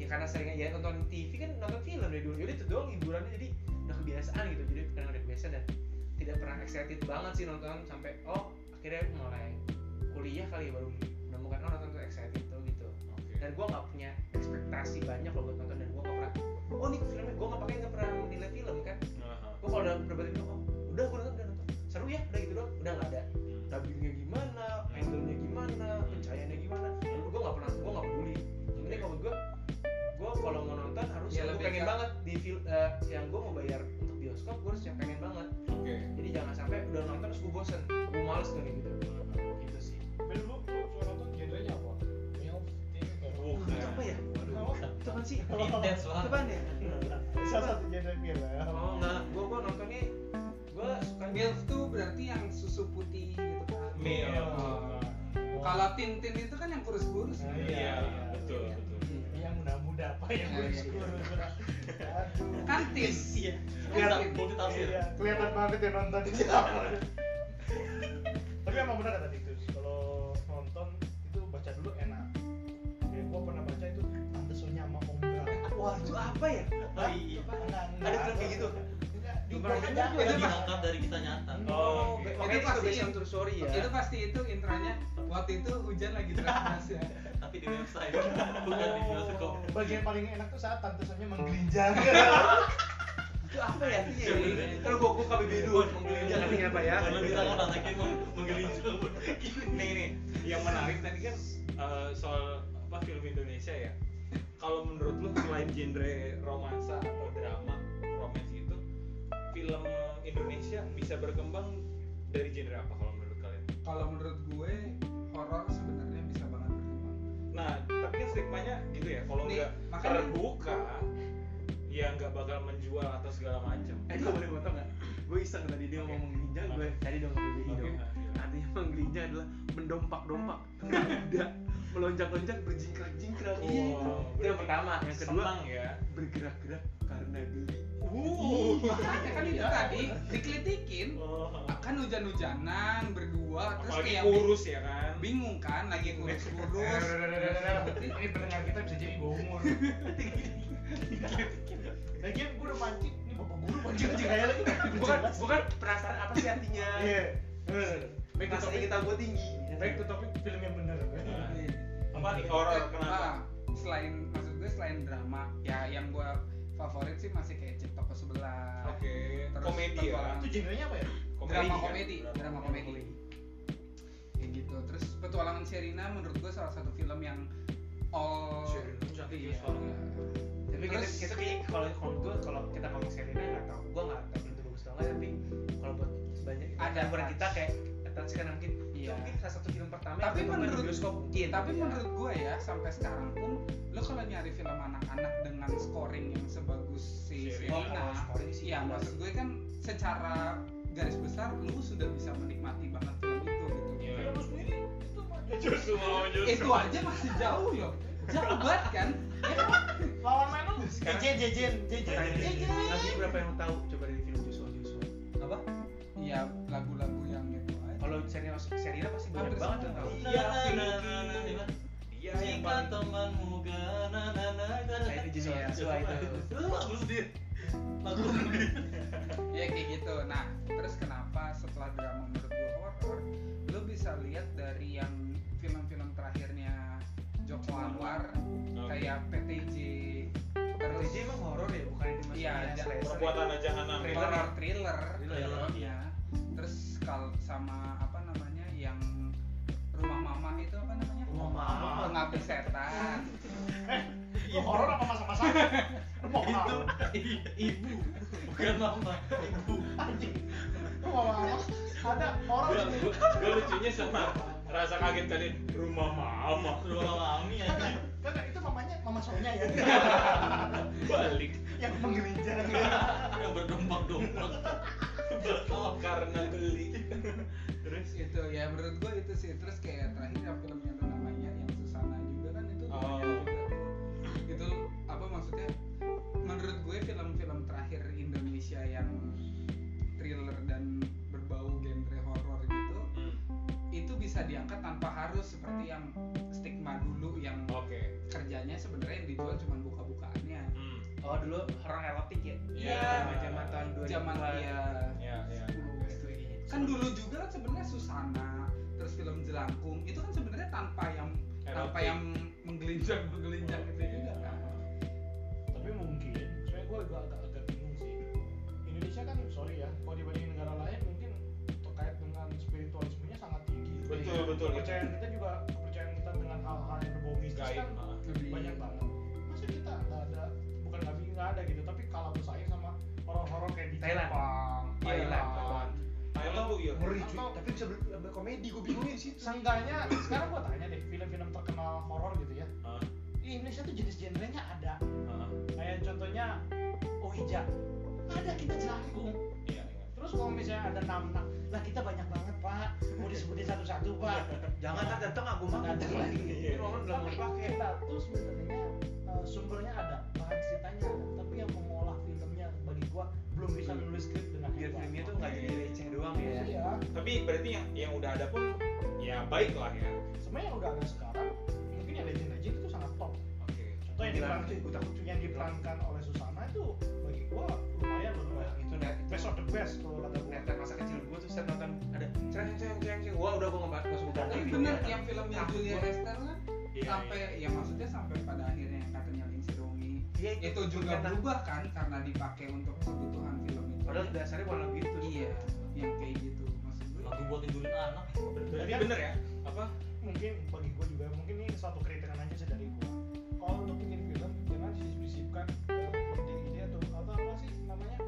Speaker 2: ya karena seringnya ya nonton TV kan nonton film dari dulu jadi itu doang hiburannya jadi udah kebiasaan gitu jadi karena udah kebiasaan dan tidak pernah excited banget sih nonton sampai oh akhirnya mulai kuliah kali ya baru menemukan oh nonton tuh excited tuh gitu
Speaker 1: Oke.
Speaker 2: dan gue nggak punya ekspektasi banyak loh buat nonton dan gue nggak pernah oh nih filmnya gue nggak pakai nggak pernah menilai film kan
Speaker 1: Aha.
Speaker 2: gue kalau udah berbagai film oh, udah gue nonton udah nonton seru ya udah gitu doang udah nggak ada dubbingnya gimana, angle-nya gimana, pencahayaannya gimana. Lalu gue gak pernah, gue gak peduli. Yang penting kalau gue, gue kalau mau nonton harus
Speaker 5: Ya,
Speaker 2: yang gue
Speaker 5: lebih
Speaker 2: pengen
Speaker 5: ke-
Speaker 2: banget di fil- eh, yang gue mau bayar untuk bioskop, gue harus yang pengen banget.
Speaker 1: Oke.
Speaker 2: Jadi jangan sampai udah nonton terus gue bosen, gue males tuh gitu. Gitu sih.
Speaker 3: Film lu lu suka nonton genrenya apa? Film, film, film.
Speaker 1: Bukan.
Speaker 2: Itu apa ya?
Speaker 3: Waduh.
Speaker 2: Itu kan sih?
Speaker 4: Intens banget.
Speaker 2: Apaan ya?
Speaker 3: Salah satu genre film.
Speaker 2: Oh enggak, gue gue nontonnya gue suka
Speaker 5: MILF tuh berarti yang susu putih gitu kan.
Speaker 1: Mil.
Speaker 5: Oh. Kalau Tintin itu kan yang kurus-kurus.
Speaker 2: Ah,
Speaker 3: Nah,
Speaker 5: gitu.
Speaker 1: Iya,
Speaker 3: Iya,
Speaker 1: betul,
Speaker 3: iya.
Speaker 1: betul.
Speaker 3: Yang muda-muda apa yang
Speaker 5: Iya, iya.
Speaker 3: kurus-kurus. Aduh.
Speaker 5: Kan Tin.
Speaker 4: Iya.
Speaker 5: Iya.
Speaker 4: Multi tafsir.
Speaker 3: Iya, kelihatan banget yang nonton di siapa. Tapi emang benar kata Titus, kalau nonton itu baca dulu enak. Kayak gua pernah baca itu tante Sonya sama Om Bra.
Speaker 2: Waduh apa ya?
Speaker 3: Hah?
Speaker 4: iya.
Speaker 3: Enggak, enggak.
Speaker 2: Ada film kayak gitu?
Speaker 3: Enggak, di
Speaker 2: Gua
Speaker 3: gua
Speaker 2: pernah
Speaker 3: aja.
Speaker 2: dengar.
Speaker 4: Itu
Speaker 5: Itu pas-
Speaker 4: diangkat dari kisah nyata.
Speaker 1: Oh, oke.
Speaker 5: Itu
Speaker 2: Oke, itu
Speaker 5: pasti-
Speaker 2: based on true
Speaker 1: Iya.
Speaker 2: story ya.
Speaker 5: Itu pasti itu intranya waktu itu hujan lagi deras ya.
Speaker 4: Tapi di website bukan di bioskop.
Speaker 3: Bagian paling enak tuh saat tante Sonya menggelinjang.
Speaker 2: itu apa ya?
Speaker 5: gitu?
Speaker 2: Iya,
Speaker 4: Sebenarnya.
Speaker 2: iya. Kalau gue gue KBB dua menggelinjang ini apa ya?
Speaker 4: Kalau bisa kan anaknya meng- menggelinjang.
Speaker 1: Nih nih, yang menarik tadi kan eh, soal apa film Indonesia ya. Kalau menurut lu selain genre romansa atau drama, romance itu film Indonesia bisa berkembang dari genre apa kalau menurut kalian?
Speaker 5: Kalau menurut gue horor sebenarnya bisa banget berkembang.
Speaker 1: Nah, tapi kan stigmanya gitu ya, kalau
Speaker 5: Nih,
Speaker 1: nggak
Speaker 5: makanya-
Speaker 1: terbuka, ya nggak bakal menjual atau segala macam.
Speaker 2: Eh, gue boleh potong nggak? Gue iseng tadi dia
Speaker 1: Oke.
Speaker 2: ngomong gelinjang, gue tadi dong ngomong
Speaker 1: Oke,
Speaker 2: dong.
Speaker 1: nah, iya.
Speaker 2: Artinya emang gelinjang adalah mendompak-dompak, tidak melonjak-lonjak, berjingkrak-jingkrak.
Speaker 1: Oh,
Speaker 2: Iya, itu. itu yang
Speaker 1: berarti
Speaker 2: pertama. Yang kedua
Speaker 1: Senang ya.
Speaker 2: bergerak-gerak karena geli.
Speaker 1: Uh.
Speaker 5: Makanya kan itu tadi dikelitikin
Speaker 1: Oh.
Speaker 5: kan hujan-hujanan berdua terus
Speaker 1: Apalagi
Speaker 5: kayak
Speaker 1: kurus ya kan.
Speaker 5: bingung kan lagi kurus-kurus.
Speaker 1: (laughs)
Speaker 3: Ini pendengar kita bisa jadi bawa umur. (laughs) Lagian gue udah mancing, ini bapak guru mancing-mancing kayak lagi.
Speaker 2: Bukan, bukan penasaran apa sih artinya?
Speaker 3: Iya.
Speaker 2: Baik,
Speaker 3: Baik,
Speaker 2: kita gue tinggi.
Speaker 3: baik ke topik film yang benar.
Speaker 1: Nah,
Speaker 5: Iya.
Speaker 1: apa nih horor
Speaker 5: Ah,
Speaker 1: kenapa?
Speaker 5: selain maksud gue selain drama ya yang gue favorit sih masih kayak cip toko sebelah.
Speaker 1: Oke,
Speaker 5: Terus
Speaker 1: komedi ya.
Speaker 5: tentang-
Speaker 3: Itu genrenya apa ya?
Speaker 5: drama
Speaker 1: kan?
Speaker 5: komedi, drama komedi. Kayak gitu. Terus petualangan Sherina menurut gue salah satu film yang all
Speaker 1: Sherina cantik ya
Speaker 5: Iya.
Speaker 1: soalnya.
Speaker 2: tapi kita
Speaker 5: Terus-
Speaker 2: kita kayak kalau kalau gue kalau kita ngomong Serena nggak tahu gue nggak tahu film itu bagus atau nggak tapi kalau buat banyak
Speaker 5: Ada
Speaker 2: orang
Speaker 5: touch.
Speaker 2: kita kayak touch kan mungkin itu
Speaker 5: Iya.
Speaker 2: mungkin salah satu film pertama
Speaker 5: Tapi
Speaker 2: ditonton di
Speaker 5: menurut-
Speaker 2: bioskop mungkin
Speaker 5: tapi
Speaker 2: Iya.
Speaker 5: menurut gue ya sampai sekarang pun lo kalau nyari film anak-anak dengan scoring yang sebagus si
Speaker 1: Sherina.
Speaker 2: oh,
Speaker 5: Sherina,
Speaker 2: kalau scoring sih
Speaker 5: ya
Speaker 2: gila
Speaker 5: maksud
Speaker 2: sih.
Speaker 5: gue kan secara garis besar lu sudah bisa menikmati banget film itu gitu.
Speaker 1: Iya.
Speaker 3: Film lu sendiri itu maju.
Speaker 1: (laughs) Justru mau justru.
Speaker 5: Itu aja masih jauh loh. Jauh banget kan? Ya kan?
Speaker 3: Lawan main lu.
Speaker 2: Sekarang-
Speaker 3: Jejen, jejen, jejen,
Speaker 5: Iya,
Speaker 2: Tanya
Speaker 3: jejen.
Speaker 2: deh, lagunya berapa yang tahu coba dari film Joshua Joshua apa
Speaker 5: Iya lagu-lagu yang itu aja.
Speaker 2: kalau Serena Serena pasti banyak
Speaker 5: Hampir
Speaker 2: banget
Speaker 5: semua.
Speaker 2: yang tahu
Speaker 4: Iya, na, na, na, na, na.
Speaker 1: Iya, yang
Speaker 4: Jika
Speaker 1: paling
Speaker 4: temanmu gana na na na
Speaker 2: Nah, itu Joshua Joshua itu
Speaker 4: Lu bagus dia. Bagus.
Speaker 5: ya kayak gitu nah terus kenapa setelah drama menurut gue horror lo bisa lihat dari yang film-film terakhirnya Joko Anwar kayak PTJ
Speaker 2: Terus
Speaker 5: terus
Speaker 2: dia emang horor ya bukan itu
Speaker 5: Iya,
Speaker 2: maksudnya
Speaker 5: ada-
Speaker 2: slasher. gitu.
Speaker 1: perbuatan aja hanam.
Speaker 2: Thriller.
Speaker 5: horror thriller
Speaker 2: Thriller.
Speaker 5: ya terus kalau sama apa namanya yang rumah mama itu apa namanya
Speaker 4: Rumah Mama.
Speaker 5: pengabdi setan
Speaker 3: Lu horor apa masak-masak? Lu mau
Speaker 4: Itu
Speaker 3: apa?
Speaker 4: i- ibu bukan mama, ibu.
Speaker 3: Anjing. Lu mau apa? ada orang
Speaker 1: Gua- gua gua lucunya sama rasa kaget tadi rumah mama
Speaker 4: Keluar alami ya.
Speaker 3: Kagak, kagak itu mamanya mama sonya (laughs) ya
Speaker 1: balik
Speaker 3: yang menggelincir
Speaker 4: Yang berdombak-dombak.
Speaker 1: (laughs) karena geli (laughs)
Speaker 5: terus itu ya menurut gue itu sih terus kayak terakhir yang filmnya tuh namanya yang Susana juga kan itu
Speaker 1: Oh.
Speaker 5: lumayan juga tuh. itu apa maksudnya menurut gue film-film terakhir Indonesia yang thriller dan berbau genre horor gitu
Speaker 1: Hmm,
Speaker 5: itu bisa diangkat tanpa harus seperti yang stigma dulu yang
Speaker 1: oke
Speaker 5: kerjanya sebenarnya yang dijual cuma buka-bukaannya
Speaker 1: Oh. Hmm,
Speaker 2: oh dulu horor erotik ya
Speaker 1: Iya.
Speaker 2: zaman tahun Oh, 2000
Speaker 5: zaman dia
Speaker 1: ya ya
Speaker 2: gitu
Speaker 5: kan dulu juga kan sebenarnya Susana terus film Jelangkung itu kan sebenarnya tanpa yang tanpa
Speaker 1: Erotik.
Speaker 5: yang menggelinjang menggelinjang gitu
Speaker 1: Iya.
Speaker 5: juga kan
Speaker 3: tapi mungkin sebenarnya gue agak agak, agak bingung sih Indonesia kan sorry ya kalau dibandingin negara lain mungkin terkait dengan spiritualismenya sangat tinggi
Speaker 1: Betul, betul.
Speaker 3: kepercayaan kita juga kepercayaan kita dengan hal-hal yang berbau mistis
Speaker 1: gaib
Speaker 3: kan
Speaker 1: malah
Speaker 5: Lebih-
Speaker 3: banyak banget masa kita nggak ada bukan nggak bi- nggak ada gitu tapi kalah bersaing sama horor-horor kayak di
Speaker 2: Thailand.
Speaker 3: Jepang
Speaker 2: Thailand.
Speaker 3: Thailand
Speaker 1: Thailand tuh ya
Speaker 6: Ngeri cuy,
Speaker 3: Atau-
Speaker 6: tapi bisa ber- ber- komedi gue bingungin sih.
Speaker 3: Seenggaknya sekarang gua tanya deh film-film terkenal horor gitu ya
Speaker 1: Ah,
Speaker 3: di Indonesia tuh jenis genrenya ada
Speaker 1: ah,
Speaker 3: kayak contohnya Ouija ada kita jelangkung
Speaker 1: iya, iya.
Speaker 3: terus kalau misalnya ada namnak lah kita banyak banget pak mau disebutin satu-satu
Speaker 2: Iya.
Speaker 3: pak
Speaker 2: jangan tak datang aku mah
Speaker 3: datang lagi
Speaker 2: Ini orang bilang mau
Speaker 3: tapi
Speaker 2: dipakai
Speaker 3: kita tuh sebenarnya eh, sumbernya ada bahan ceritanya ada tapi yang mengolah filmnya bagi gua belum bisa menulis skrip dengan
Speaker 2: biar
Speaker 3: hebat.
Speaker 2: Iya. filmnya tuh nggak jadi receh doang ya
Speaker 3: iya
Speaker 1: tapi berarti yang yang udah ada pun ya baik lah ya
Speaker 3: sebenarnya yang udah ada sekarang mungkin yang legend legend itu sangat top
Speaker 1: oke
Speaker 3: contoh yang
Speaker 2: Bilang.
Speaker 3: diperankan yang diperankan oleh Susana itu bagi gua lumayan loh lumayan
Speaker 2: itu net
Speaker 3: best of the best kalau kata gua
Speaker 2: netter masa kecil gue tuh set nonton ada ceng ceng ceng ceng wah udah gue ngebahas gue suka
Speaker 5: tapi bener iya. yang filmnya Julia Lester kan
Speaker 1: Iya,
Speaker 5: sampai ya maksudnya sampai pada akhirnya yang katanya Lindsay Romi
Speaker 2: Iya,
Speaker 5: itu juga
Speaker 2: berkata-
Speaker 5: berubah kan karena dipakai untuk kebutuhan film itu
Speaker 2: padahal dasarnya bukan lagu itu
Speaker 5: iya yang kayak gitu maksud gue
Speaker 4: Lagu buat tidurin anak.
Speaker 3: Jadi
Speaker 1: iya.
Speaker 3: kan-
Speaker 1: bener ya apa
Speaker 3: mungkin Nah, bagi gue juga mungkin ini suatu kritikan aja sih dari gue kalau untuk bikin film jangan disisipkan ide-ide atau atau apa sih namanya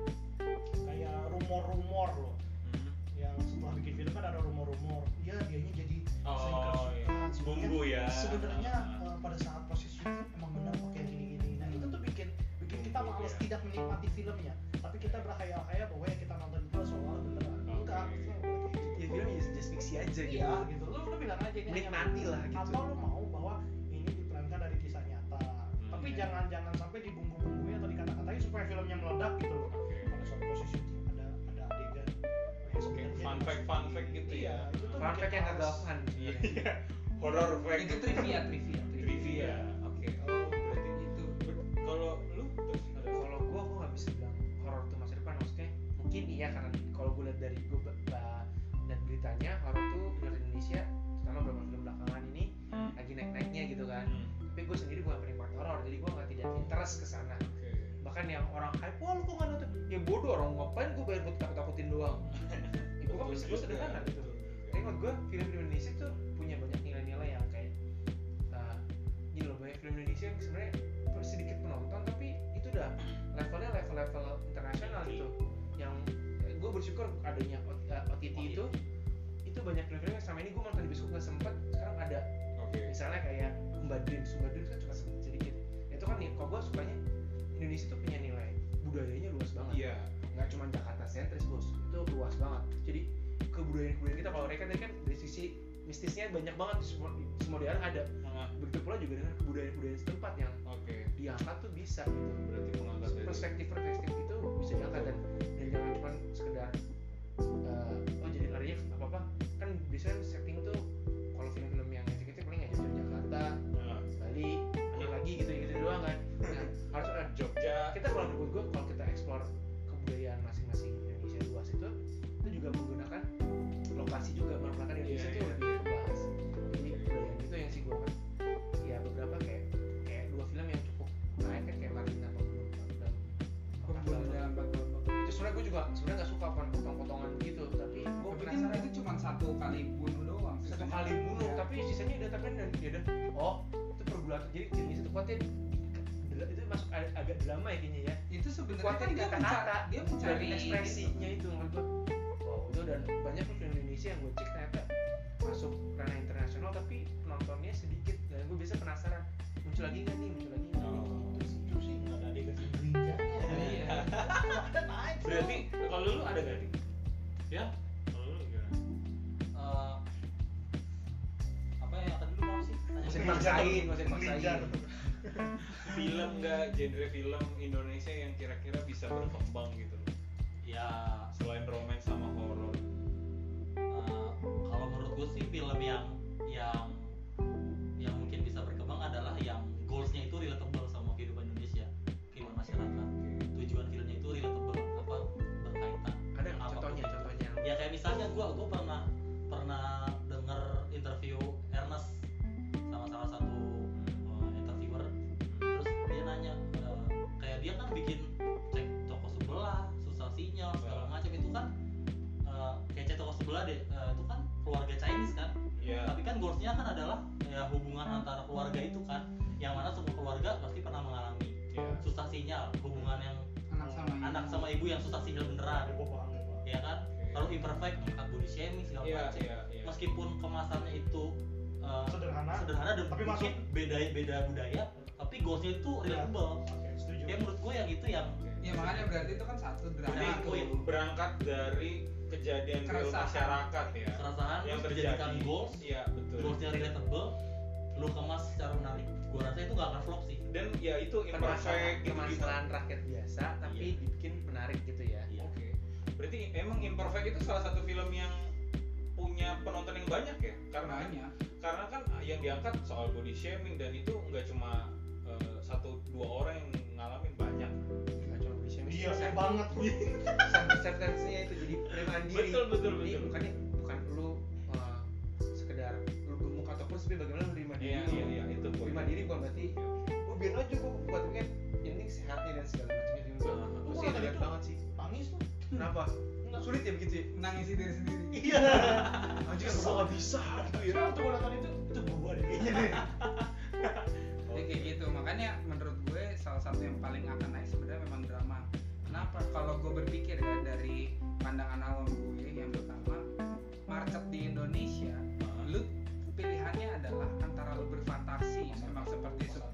Speaker 3: kayak rumor-rumor loh
Speaker 1: Hmm.
Speaker 3: yang setelah bikin film kan ada rumor-rumor ya dianya jadi
Speaker 1: Oh,
Speaker 3: sering kerasukan.
Speaker 1: iya.
Speaker 3: Sebenarnya-
Speaker 1: Bumbu ya.
Speaker 3: sebenarnya
Speaker 1: Ah.
Speaker 3: eh, pada saat proses syuting emang benar pakai gini-gini nah itu tuh bikin bikin kita
Speaker 1: Bumbu
Speaker 3: malas
Speaker 1: ya.
Speaker 3: tidak menikmati filmnya tapi kita berhayal-hayal bahwa yang kita nonton itu soal beneran enggak
Speaker 1: Oke.
Speaker 3: kita nggak boleh kayak
Speaker 2: ya
Speaker 3: gitu.
Speaker 2: film ya just fiksi aja gitu
Speaker 3: Iya gitu. Lu lu bilang aja ini hanya
Speaker 2: Nikmati lah, gitu.
Speaker 3: Atau lu mau bahwa ini diperankan dari kisah nyata. Tapi
Speaker 5: iya.
Speaker 3: jangan jangan sampai dibumbu-bumbuin atau dikata-katain supaya filmnya meledak gitu loh.
Speaker 1: Oke.
Speaker 3: Pada suatu posisi ada ada adegan yang sebenarnya
Speaker 1: fun fact- fun fact gitu
Speaker 3: iya,
Speaker 1: ya.
Speaker 3: Itu tuh
Speaker 2: fun
Speaker 3: bikin
Speaker 2: fact yang
Speaker 3: males.
Speaker 2: kagak fun sebenarnya.
Speaker 1: (laughs) Iya. horror fact
Speaker 5: itu trivia trivia
Speaker 1: gitu. trivia oke oh berarti
Speaker 5: itu
Speaker 1: ber- kalau lu terus ada
Speaker 2: kalau gue gue nggak bisa bilang horor tuh masa depan maksudnya mungkin iya karena kalau gue lihat dari gue dan beritanya horor tuh menurut Indonesia terutama beberapa film belakangan ini
Speaker 1: Hmm.
Speaker 2: lagi naik naiknya gitu kan
Speaker 1: Hmm.
Speaker 2: tapi gue sendiri bukan penikmat horor jadi gue nggak tidak interest ke sana
Speaker 1: oke
Speaker 2: bahkan yang orang hype wah lu kok nggak nonton ya bodoh orang ngapain gue bayar buat takut takutin doang
Speaker 1: (laughs)
Speaker 2: ya, gue kan
Speaker 1: Betul
Speaker 2: bisa gue
Speaker 1: juga.
Speaker 2: sederhana gitu
Speaker 1: Betul juga.
Speaker 2: tapi menurut gue film Indonesia tuh punya banyak nilai-nilai yang kayak uh, gini loh banyak film Indonesia yang sebenarnya sedikit penonton tapi itu udah levelnya level-level internasional gitu yang gue bersyukur adanya O- uh, OTT itu itu banyak film-film yang selama ini gue nonton di bioskop gak sempet sekarang ada
Speaker 1: oke
Speaker 2: misalnya kayak Umba Dreams Umba Dreams kan cuma sedikit itu kan nih kalau gue sukanya Indonesia tuh punya nilai budayanya luas banget
Speaker 1: iya
Speaker 2: nggak cuma Jakarta sentris bos itu luas banget jadi kebudayaan kebudayaan kita kalau mereka tadi kan dari sisi mistisnya banyak banget di semua di semua daerah ada
Speaker 1: Ah,
Speaker 2: begitu pula juga dengan kebudayaan kebudayaan setempat yang
Speaker 1: oke
Speaker 2: diangkat tuh bisa gitu
Speaker 1: berarti mengangkat dari
Speaker 2: perspektif perspektif itu bisa diangkat dan dan jangan cuma sekedar eh, oh jadi larinya apa apa kan biasanya setting tuh kalau film-film yang eksekutif paling nggak jauh Jakarta
Speaker 1: Ah,
Speaker 2: Bali ada lagi gitu gitu doang kan nah, harus ada
Speaker 1: Jogja
Speaker 2: kita kalau menurut gue kalau kita eksplor kebudayaan masing-masing Indonesia luas itu itu juga menggunakan lokasi juga menggunakan Indonesia
Speaker 1: Iya,
Speaker 2: itu
Speaker 1: iya.
Speaker 2: lebih luas jadi kebudayaan itu yang sih gue kan ya beberapa kayak kayak dua film yang cukup naik kan kayak Marina Pembunuh dan
Speaker 5: pembunuh dalam empat babak
Speaker 2: itu sebenarnya gue juga sebenarnya nggak suka kan potong-potongan gitu tapi gue
Speaker 5: gue pikir
Speaker 2: penasaran
Speaker 5: itu cuma satu kali bunuh doang
Speaker 2: satu kali bunuh
Speaker 5: Iya.
Speaker 2: tapi sisanya udah tapi dan dia udah oh itu pergulatan jadi jenis itu kuatnya itu masuk ag- agak drama ya kayaknya ya
Speaker 5: itu sebenarnya
Speaker 2: kuatnya
Speaker 5: kan
Speaker 2: di
Speaker 5: dia
Speaker 2: kata-kata
Speaker 5: mencari dia mencari
Speaker 2: dari ekspresinya itu menurut gua wow itu udah dan banyak tuh film Indonesia yang gue cek ternyata masuk ranah internasional tapi penontonnya sedikit dan gue biasa penasaran muncul lagi nggak nih muncul lagi nggak nih gitu sih
Speaker 3: Itu sih nggak ada dikasih berinya.
Speaker 2: Iya.
Speaker 3: Ada naik. bro.
Speaker 1: Berarti kalau lu ada gak nih? Ya? Kalau lu gimana?
Speaker 4: Eh, apa ya tadi lu mau sih? Tanya
Speaker 2: Masih
Speaker 4: dulu.
Speaker 3: Berinja
Speaker 2: dipaksain,
Speaker 3: tetep.
Speaker 2: masih dipaksain.
Speaker 3: Berinja tetep.
Speaker 1: Film gak genre film Indonesia yang kira-kira bisa berkembang gitu loh.
Speaker 4: Ya
Speaker 1: Selain romance sama horor.
Speaker 4: Uh, kalau menurut gue sih film yang yang yang mungkin bisa berkembang adalah yang goalsnya itu relatable sama kehidupan Indonesia kehidupan masyarakat tujuan filmnya itu relatable apa berkaitan
Speaker 2: ada nggak
Speaker 4: Apa?
Speaker 2: contohnya contohnya
Speaker 4: ya kayak misalnya gue gue pernah pernah denger interview Ernest sama salah satu uh, interviewer terus dia nanya uh, kayak dia kan bikin cek toko sebelah susah sinyal segala macam itu kan uh, kayak cek toko sebelah deh uh, itu kan keluarga Chinese kan
Speaker 1: Ya.
Speaker 4: tapi kan goalsnya kan adalah ya, hubungan antara keluarga itu kan yang mana semua keluarga pasti pernah mengalami
Speaker 1: Ya.
Speaker 4: susah sinyal hubungan yang
Speaker 5: anak sama ibu.
Speaker 4: anak sama ibu yang susah sinyal
Speaker 3: Ada
Speaker 4: beneran
Speaker 3: gua paham, gua paham.
Speaker 4: ya kan kalau imperfect angkat body shaming segala
Speaker 1: Iya,
Speaker 4: macam
Speaker 1: iya, iya.
Speaker 4: meskipun kemasannya itu uh,
Speaker 3: Sederhana.
Speaker 4: sederhana dan
Speaker 3: Tapi
Speaker 4: mungkin
Speaker 3: masuk. Iya.
Speaker 4: beda beda budaya tapi goalsnya itu relatable
Speaker 3: Oke, setuju.
Speaker 4: ya menurut gue yang itu yang
Speaker 5: ya makanya berarti itu kan satu drama
Speaker 1: Jadi
Speaker 5: tuh.
Speaker 4: Wih.
Speaker 1: berangkat dari kejadian real
Speaker 5: Keresahan.
Speaker 1: masyarakat ya.
Speaker 4: keresahan
Speaker 1: Yang
Speaker 4: terus
Speaker 1: terjadi.
Speaker 4: dijadikan goals
Speaker 1: Iya, betul.
Speaker 4: goalsnya relatable lu kemas secara menarik gue rasa itu gak akan flop sih
Speaker 1: Dan ya itu
Speaker 2: permasalahan
Speaker 1: imperfect gitu gitu-gitu.
Speaker 2: permasalahan rakyat biasa tapi
Speaker 1: Iya.
Speaker 2: dibikin menarik gitu ya
Speaker 4: Iya.
Speaker 1: Oke. Berarti emang Imperfect itu salah satu film yang punya penonton yang banyak ya? Karena
Speaker 5: banyak
Speaker 1: karena kan yang diangkat soal body shaming dan itu nggak cuma eh, satu dua orang yang ngalamin banyak.
Speaker 2: nggak cuma bisa
Speaker 3: Iya, saya banget.
Speaker 2: sentence-nya itu jadi perumahan diri
Speaker 1: Betul, betul,
Speaker 2: jadi
Speaker 1: betul.
Speaker 2: bukannya bukan lu uh, sekedar lu gemuk ataupun sebenarnya bagaimana lu menerima diri
Speaker 1: Iya
Speaker 2: lu
Speaker 1: iya iya itu poin.
Speaker 2: menerima diri bukan berarti lu biar aja gua buat weekend yang penting sehatnya dan segala macamnya dulu
Speaker 1: Ah,
Speaker 2: Gua
Speaker 3: gua
Speaker 2: sih
Speaker 3: nggak
Speaker 2: relate
Speaker 3: gitu.
Speaker 2: banget sih
Speaker 3: Nangis tuh.
Speaker 2: kenapa
Speaker 3: Enggak.
Speaker 2: sulit ya
Speaker 1: (laughs)
Speaker 2: begitu ya
Speaker 5: menangisi diri sendiri
Speaker 3: Iya.
Speaker 6: Anjir, gua gak bisa gitu ya.
Speaker 3: Kira tuh Iya, gua nonton itu itu gua deh. Iya deh.
Speaker 5: Ya kayak gitu makanya menurut gue salah satu yang paling akan naik sebenarnya memang drama kenapa kalau gue berpikir ya dari pandangan awam gue yang pertama market di Indonesia lu pilihannya adalah antara lu berfantasi memang seperti se-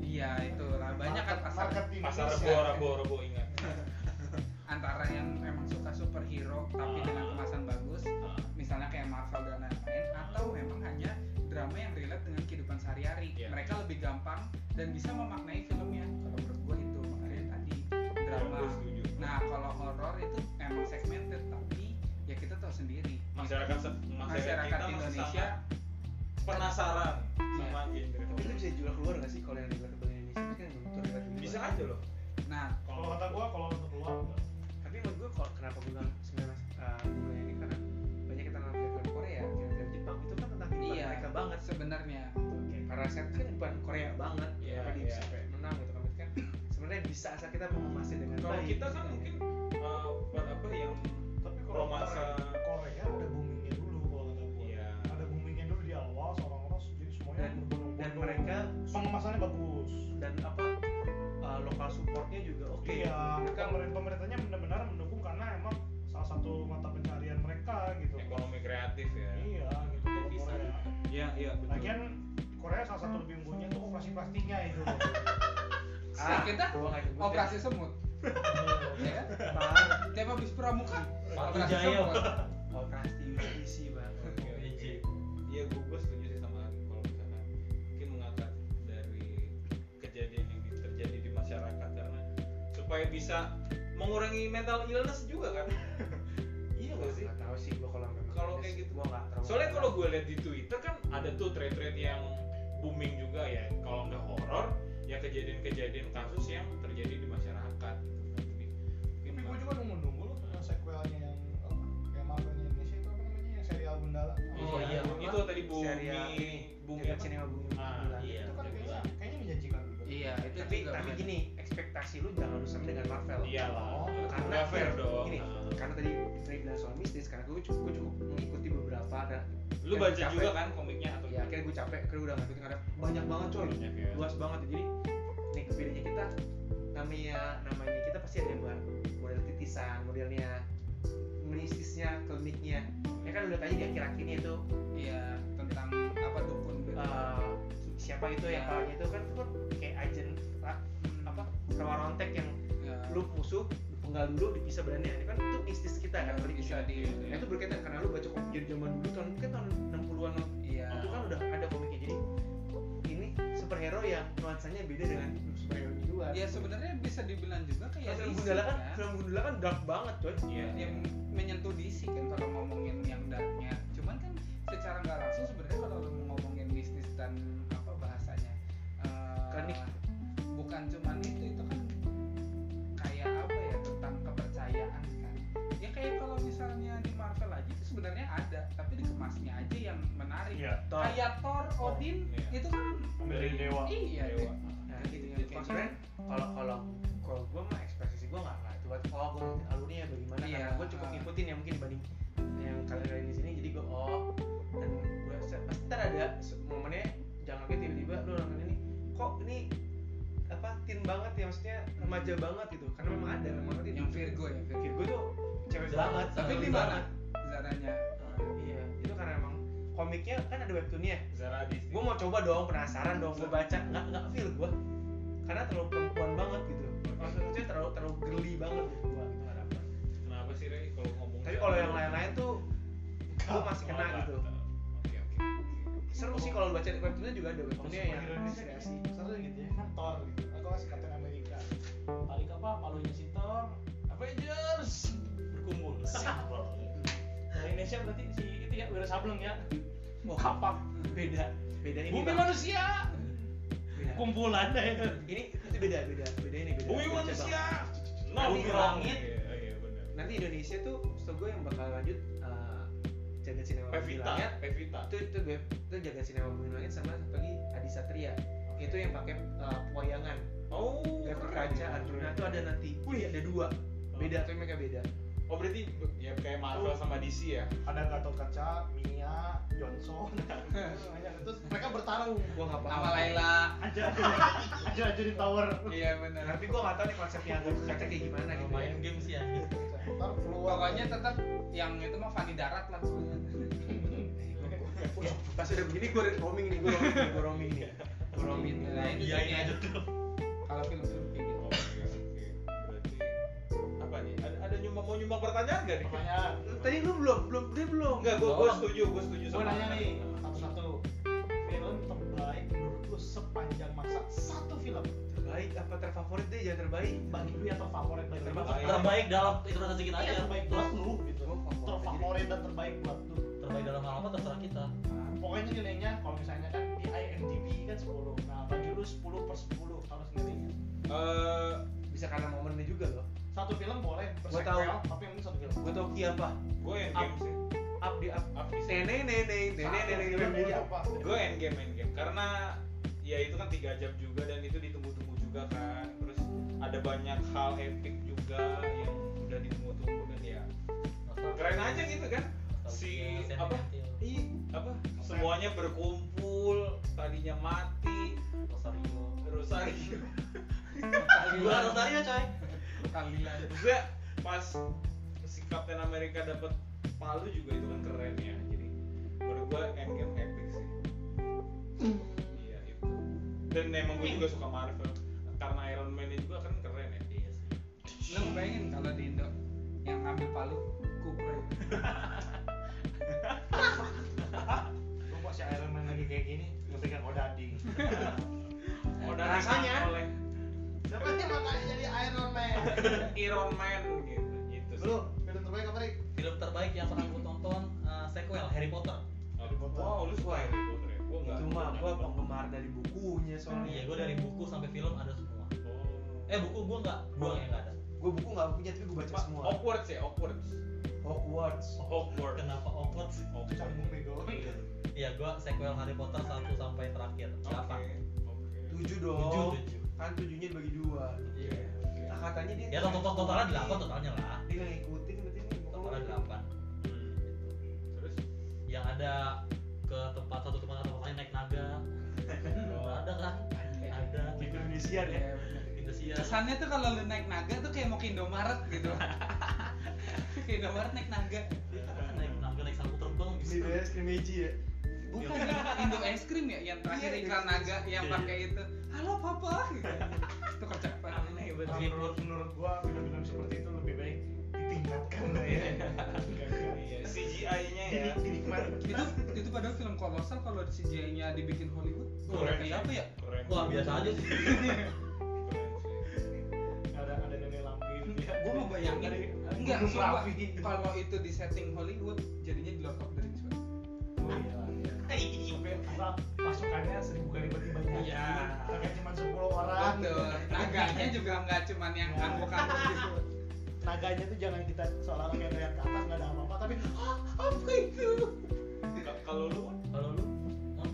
Speaker 5: iya itulah banyak kan pasar
Speaker 3: Market di
Speaker 1: Pasar
Speaker 3: Indonesia.
Speaker 1: rebo rebo rebo ingat.
Speaker 5: antara yang emang suka superhero tapi
Speaker 1: Ah.
Speaker 5: dengan kemasan bagus
Speaker 1: Ah,
Speaker 5: misalnya kayak Marvel dan lain-lain atau memang hanya drama yang relate dengan kehidupan sehari-hari
Speaker 1: Iya.
Speaker 5: mereka lebih gampang dan bisa memaknai filmnya kalau menurut gue itu makanya
Speaker 1: Iya.
Speaker 5: tadi drama
Speaker 1: gue setuju.
Speaker 5: nah kalau horor itu emang segmented tapi ya kita tahu sendiri
Speaker 1: masyarakat se- masyarakat,
Speaker 5: masyarakat
Speaker 1: kita masih
Speaker 5: Indonesia
Speaker 1: sangat penasaran sama genre.
Speaker 2: tapi lu bisa jual keluar nggak sih kalau yang relatable Indonesia itu kan belum tentu relatable
Speaker 1: Bisa aja loh.
Speaker 5: nah
Speaker 3: Kalau kata gua kalau untuk keluar enggak.
Speaker 2: tapi menurut gue kalau kenapa gue bilang sebenarnya uh, gue ini karena banyak kita nonton film Korea film Jepang itu kan tentang kehidupan
Speaker 5: Iya.
Speaker 2: mereka banget
Speaker 5: sebenarnya
Speaker 2: Oke, karena set kan bukan Korea banget
Speaker 1: Iya,
Speaker 2: kenapa dia
Speaker 1: iya.
Speaker 2: bisa kayak menang gitu kan Berarti kan sebenarnya bisa asal kita mengemasnya dengan
Speaker 1: Kalau
Speaker 2: baik
Speaker 1: kita
Speaker 2: gitu
Speaker 1: kan mungkin eh, buat apa yang
Speaker 3: Tapi kalau
Speaker 1: Romansa.
Speaker 3: Korea- Korea ada boomingnya dulu kalau kata gua.
Speaker 1: Iya.
Speaker 3: Ada boomingnya dulu di awal seorang orang jadi semuanya
Speaker 2: dan,
Speaker 3: berbondong-bondong.
Speaker 2: dan mereka
Speaker 3: pengemasannya bagus.
Speaker 2: dan apa uh, lokal supportnya juga oke
Speaker 3: Iya,
Speaker 2: mereka
Speaker 3: pemerintah pemerintahnya benar-benar mendukung karena emang salah satu mata pencarian mereka gitu.
Speaker 1: ekonomi kreatif ya.
Speaker 3: Iya, gitu kalau
Speaker 4: Devisa.
Speaker 3: Korea.
Speaker 1: Iya iya
Speaker 3: Lagian Korea salah satu lebih unggulnya tuh operasi plastiknya itu. loh.
Speaker 5: Nah,
Speaker 1: Ah,
Speaker 5: kita
Speaker 2: gua nggak nyebut
Speaker 5: operasi semut
Speaker 3: Iya.
Speaker 5: ya kan? tiap habis pramuka
Speaker 4: Patu
Speaker 5: operasi
Speaker 1: (laughs)
Speaker 4: Jaya.
Speaker 5: semut
Speaker 2: ya. operasi isi banget
Speaker 1: Oke, oke. Iya, gue gue setuju sih sama Arif kalau misalnya mungkin mengangkat dari kejadian yang di- terjadi di masyarakat karena supaya bisa mengurangi mental illness juga kan. iya gak sih?
Speaker 2: nggak tahu sih gua kalau memang
Speaker 1: Kalau
Speaker 2: ada
Speaker 1: kayak
Speaker 2: sih,
Speaker 1: gitu.
Speaker 2: gua nggak terlalu
Speaker 1: Soalnya kalau gue lihat di Twitter kan ada tuh thread-thread yang booming juga ya. Kalau nggak horor, ya kejadian-kejadian kasus yang terjadi di masyarakat. gitu kan. Jadi,
Speaker 3: Tapi
Speaker 1: mungkin
Speaker 3: gue juga nunggu-nunggu loh yang sequelnya yang apa? Yang Marvel Indonesia itu apa namanya? Yang serial Gundala. kan
Speaker 1: Oh iya, itu tadi bumi,
Speaker 2: serial ini,
Speaker 1: bumi
Speaker 2: Efek
Speaker 1: apa?
Speaker 2: Cinema Bumi
Speaker 1: Ah,
Speaker 2: Bulan.
Speaker 4: iya.
Speaker 3: Itu kan kayaknya kayaknya menjanjikan juga.
Speaker 5: iya itu
Speaker 2: tapi
Speaker 5: juga
Speaker 2: tapi
Speaker 5: benar.
Speaker 2: gini ekspektasi lu jangan rusak dengan Marvel
Speaker 1: Iyalah,
Speaker 3: Oh,
Speaker 2: karena
Speaker 1: Iya. nggak fair dong.
Speaker 2: gini
Speaker 1: Ah.
Speaker 2: karena tadi Fred bilang soal mistis karena gue cukup, gue cukup mengikuti beberapa dan
Speaker 1: lu
Speaker 2: dan
Speaker 1: baca
Speaker 2: capek.
Speaker 1: juga kan komiknya atau
Speaker 2: ya akhirnya gue capek akhirnya udah ngikutin karena banyak banget coy
Speaker 1: Banyak ya.
Speaker 2: luas banget jadi nih bedanya kita namanya namanya kita pasti ada yang baru model titisan modelnya mistisnya Ya kan klinik lu lihat aja di akhir-akhirnya itu
Speaker 5: Iya, tentang apa dukun gitu.
Speaker 2: eh, siapa itu yang palanya itu kan itu kan kayak agen ra- apa sama rontek yang
Speaker 5: Ya.
Speaker 2: lu musuh lu penggal dulu dipisah berani ini kan itu mistis kita kan
Speaker 5: Yang
Speaker 2: beli
Speaker 5: bisa di
Speaker 2: Nah, itu berkaitan karena lu baca komik dari zaman dulu tahun mungkin tahun 60-an an
Speaker 5: iya.
Speaker 2: itu kan udah ada komiknya jadi ini superhero yang nuansanya beda dengan superhero di luar.
Speaker 5: Ya sebenarnya bisa dibilang juga
Speaker 2: Nah,
Speaker 5: kayak
Speaker 2: film
Speaker 5: DC,
Speaker 2: Gundala kan,
Speaker 5: kan?
Speaker 2: film Gundala kan dark banget coy.
Speaker 1: Iya.
Speaker 5: yang menyentuh DC kan kalau ngomongin yang darknya cuman kan secara nggak langsung sebenarnya kalau lu ngomongin bisnis dan apa bahasanya eh,
Speaker 2: Kan nih.
Speaker 5: bukan cuman itu itu kan kayak apa ya tentang kepercayaan kan ya kayak kalau misalnya di Marvel aja itu sebenarnya ada tapi dikemasnya aja yang menarik
Speaker 3: Iya.
Speaker 2: Thor.
Speaker 5: kayak Thor, Odin
Speaker 1: Iya.
Speaker 5: itu kan
Speaker 3: Dari dewa.
Speaker 5: iya
Speaker 1: Dewa.
Speaker 2: Nah, gitu
Speaker 5: Jadi
Speaker 2: jadi
Speaker 5: kayak
Speaker 2: maksudnya kalau kalau kalau gue mah ekspresi gue nggak nggak itu buat oh gue ngerti alurnya ya bagaimana
Speaker 5: Iya.
Speaker 2: karena gue cukup ngikutin yang mungkin dibanding yang kalian ada di sini jadi gue oh dan gue pasti ntar ada se- momennya jangan sampai tiba-tiba lu nonton ini kok ini apa tin banget ya maksudnya remaja banget gitu karena memang ada memang ada
Speaker 5: yang Virgo ya Virgo
Speaker 2: gue tuh cewek
Speaker 4: Zara-
Speaker 2: banget
Speaker 5: tapi
Speaker 4: Zara-
Speaker 5: di mana zaranya
Speaker 2: iya itu karena emang komiknya kan ada webtoonnya
Speaker 1: Zara Disney.
Speaker 2: gue mau coba dong penasaran dong gue baca nggak nggak feel gue karena terlalu perempuan banget gitu maksudnya terlalu terlalu girly banget gitu gue gitu nggak dapet.
Speaker 1: Kenapa sih Rey kalau ngomong?
Speaker 2: tapi kalau yang lain-lain tuh gue masih kena gitu
Speaker 1: Oke oke.
Speaker 2: seru sih kalau lu baca webtoonnya juga ada
Speaker 3: Kalau
Speaker 2: webtoonnya yang
Speaker 3: superhero Indonesia ya, kayak
Speaker 2: inspirasi
Speaker 3: seru gitu ya kan Thor gitu. Aku kasih Captain America.
Speaker 4: Paling apa palunya si Thor Avengers berkumpul.
Speaker 3: Simple.
Speaker 6: Dari Indonesia berarti si itu ya Wira Sableng ya.
Speaker 2: Wah.
Speaker 6: Kapak
Speaker 2: beda beda ini
Speaker 6: Bumi
Speaker 2: Bang.
Speaker 6: manusia
Speaker 2: Beda.
Speaker 6: kumpulan deh.
Speaker 2: ini itu beda beda beda ini beda
Speaker 6: Bumi
Speaker 2: Baca, Bang.
Speaker 6: manusia.
Speaker 1: Nah,
Speaker 4: Bumi
Speaker 1: iya,
Speaker 4: langit.
Speaker 1: Iya iya benar.
Speaker 2: nanti Indonesia tuh setahu gue yang bakal lanjut eh, jaga sinema Bumi
Speaker 1: Pevita.
Speaker 2: Langit.
Speaker 1: Pevita.
Speaker 2: itu itu gue itu jaga sinema Bumi Langit sama satu lagi Adi Satria itu yang pakai eh, pewayangan
Speaker 1: Oh.
Speaker 2: Gak
Speaker 1: keren.
Speaker 2: Raja Arjuna itu ada nanti. Wih ada dua. Beda tapi mereka beda.
Speaker 1: Oh berarti be- ya kayak Marvel sama DC ya?
Speaker 3: Ada Gatot Kaca, Mia, Johnson. Terus mereka bertarung.
Speaker 2: Gua nggak paham.
Speaker 5: sama Laila
Speaker 3: Aja aja aja di tower.
Speaker 5: iya benar
Speaker 2: Nah, Tapi gua nggak tahu nih konsepnya agak kaca kayak gimana gitu. ya.
Speaker 4: Main games ya.
Speaker 3: Ntar keluar.
Speaker 5: Pokoknya tetap yang itu mah Fani Darat lah sebenarnya.
Speaker 2: (laughs) Ya, pas udah begini gua roaming nih, gua roaming, nih, gua roaming nih. Gua roaming nih.
Speaker 5: Nah, itu
Speaker 1: ya.
Speaker 4: Iyain
Speaker 5: sih,
Speaker 4: aja tuh.
Speaker 5: Kalau film-film kayak gitu.
Speaker 1: Oke Oh, iya, oke. Berarti apa nih? Ada, ada nyumbang mau nyumbang pertanyaan gak nih? Oh,
Speaker 3: Pertanyaan.
Speaker 2: Lu Tadi lu belum, belum, dia belum.
Speaker 1: Enggak, gue gue setuju, gue setuju
Speaker 3: Gue
Speaker 1: sama.
Speaker 3: nanya nih satu-satu. Film terbaik menurut lu sepanjang masa satu film.
Speaker 2: Terbaik apa terfavorit deh, jangan terbaik.
Speaker 3: Bagi lu yang terfavorit bagi lu.
Speaker 1: Terbaik.
Speaker 4: Terbaik dalam interpretasi kita
Speaker 3: Iya,
Speaker 4: aja.
Speaker 3: terbaik buat lu gitu.
Speaker 2: Gua favorit
Speaker 3: Terfavorit dan terbaik buat lu.
Speaker 4: Terbaik dalam hal apa terserah kita.
Speaker 3: pokoknya nilainya kalau misalnya kan di IMDb kan 10 nah bagi lu 10 per 10 harus
Speaker 1: Eh,
Speaker 3: nilainya
Speaker 2: aja. Bisa karena momennya juga loh.
Speaker 3: satu film boleh per
Speaker 2: Gua
Speaker 3: sequel,
Speaker 2: tahu.
Speaker 3: tapi yang penting satu film
Speaker 2: Gua tau Ki apa?
Speaker 1: gue endgame sih.
Speaker 2: Up di up.
Speaker 1: Up sih.
Speaker 2: Neneng neneng neneng neneng neneng
Speaker 3: Film
Speaker 2: neneng.
Speaker 3: apa?
Speaker 1: gue endgame endgame karena ya itu kan tiga jam juga dan itu ditunggu-tunggu juga kan terus ada banyak hal epic juga yang udah ditunggu-tunggu dan ya keren aja gitu kan si apa i apa semuanya berkumpul tadinya mati
Speaker 4: Rosario.
Speaker 1: (laughs) Rosario
Speaker 4: Gua Rosario coy.
Speaker 5: Kalilan.
Speaker 1: juga pas si Captain America dapat palu juga itu kan keren ya jadi menurut gue endgame epic sih iya itu dan emang gue juga suka Marvel karena Iron Man juga kan keren ya
Speaker 4: Iya sih.
Speaker 5: Lu bayangin kalau di Indo yang ngambil palu kupre.
Speaker 3: lu kok si Iron Man lagi kayak gini ngepegang Odading
Speaker 1: Oh, dan
Speaker 2: Rasanya.
Speaker 1: dimakan oleh
Speaker 3: siapa sih makanya jadi Iron Man
Speaker 1: Iron Man gitu itu sih
Speaker 3: lu film terbaik apa Rik?
Speaker 4: Film terbaik yang pernah gue tonton eh, sequel Harry Potter.
Speaker 1: Harry Potter. wow lu suka Harry Potter ya gue nggak
Speaker 2: Itu mah gua penggemar dari bukunya soalnya.
Speaker 4: Iya, gue dari buku sampai film ada semua.
Speaker 1: Oh.
Speaker 4: Eh buku gue nggak, gue yang nggak ada.
Speaker 2: Gua buku nggak punya tapi gua baca
Speaker 1: Ma-
Speaker 2: semua.
Speaker 1: Hogwarts ya Hogwarts
Speaker 2: Hogwarts.
Speaker 1: Hogwarts
Speaker 4: Oh, Kenapa awkward sih?
Speaker 1: Hogwarts
Speaker 3: canggung bego
Speaker 4: Iya, gue sequel Harry Potter 1 sampai terakhir.
Speaker 1: oke
Speaker 4: Delapan.
Speaker 1: oke
Speaker 2: Tujuh dong.
Speaker 4: Tujuh, tujuh.
Speaker 2: Kan tujuhnya dibagi dua.
Speaker 4: Iya.
Speaker 2: Nah, katanya dia.
Speaker 4: Ya total totalnya delapan totalnya lah.
Speaker 2: Dia nggak ngikutin berarti ini.
Speaker 4: Totalnya delapan.
Speaker 1: Hmm. terus
Speaker 4: Yang ada ke tempat satu tempat satu tempat lain naik naga. ada kan? Ada.
Speaker 2: Di Indonesia ya.
Speaker 4: Indonesia.
Speaker 5: Kesannya tuh kalau lu naik naga tuh kayak mau ke Indomaret gitu. ke Indomaret naik naga.
Speaker 4: Naik gitu. naga naik samputer ke
Speaker 2: Indo es krim Meiji ya.
Speaker 5: bukan Indo es krim ya yang terakhir
Speaker 2: Iya,
Speaker 5: iklan
Speaker 2: Indo es
Speaker 5: naga yang pakai itu halo papa gitu. itu kocak banget
Speaker 1: aneh
Speaker 3: Nah,
Speaker 1: banget
Speaker 3: menurut menurut gua film-film seperti itu lebih baik ditingkatkan lah
Speaker 5: (laughs)
Speaker 3: ya Ditingkatkan.
Speaker 1: iya CGI-nya ya
Speaker 3: Dinik- dinikmati
Speaker 5: itu itu padahal film kolosal kalau di CGI-nya dibikin Hollywood
Speaker 3: Keren.
Speaker 5: kayak apa ya
Speaker 1: keren
Speaker 4: Wah biasa aja sih.
Speaker 1: Keren sih.
Speaker 3: ada ada nenek lampir ya.
Speaker 5: gue mau bayangin
Speaker 3: Dari- Iya,
Speaker 5: enggak
Speaker 3: Gunung
Speaker 5: sumpah. (laughs)
Speaker 3: Rapi.
Speaker 5: kalau itu di setting Hollywood jadinya di lockup dari Indonesia
Speaker 3: Oh, iya, iya. Tapi apa, pasukannya seribu kali berarti banyak
Speaker 5: Iya.
Speaker 3: Tapi cuma 10 orang
Speaker 5: betul naganya juga nggak cuman yang
Speaker 3: Ya.
Speaker 5: angguk-angguk (laughs) gitu
Speaker 3: naganya tuh jangan kita seolah-olah kayak lihat ke atas nggak ada apa-apa tapi "Oh, "Hah, apa itu
Speaker 1: Ka- kalau lu
Speaker 4: Kalau lu, Mon?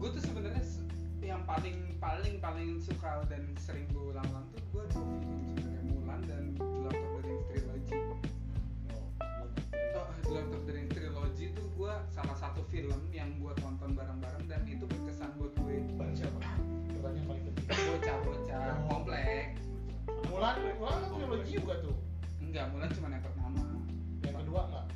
Speaker 5: gue tuh sebenarnya se- yang paling paling paling suka dan sering gue ulang-ulang tuh gue tuh film sebenarnya Mulan dan The Lord of the Rings trilogy oh, The Lord of the Rings trilogy tuh gue salah satu film yang gue tonton bareng-bareng dan itu berkesan buat gue
Speaker 3: Bang siapa Kebanyakan paling penting
Speaker 5: bocah-bocah
Speaker 3: Oh.
Speaker 5: komplek
Speaker 3: Mulan Mulan kan trilogi juga tuh
Speaker 5: enggak Mulan cuma yang pertama
Speaker 3: yang kedua nggak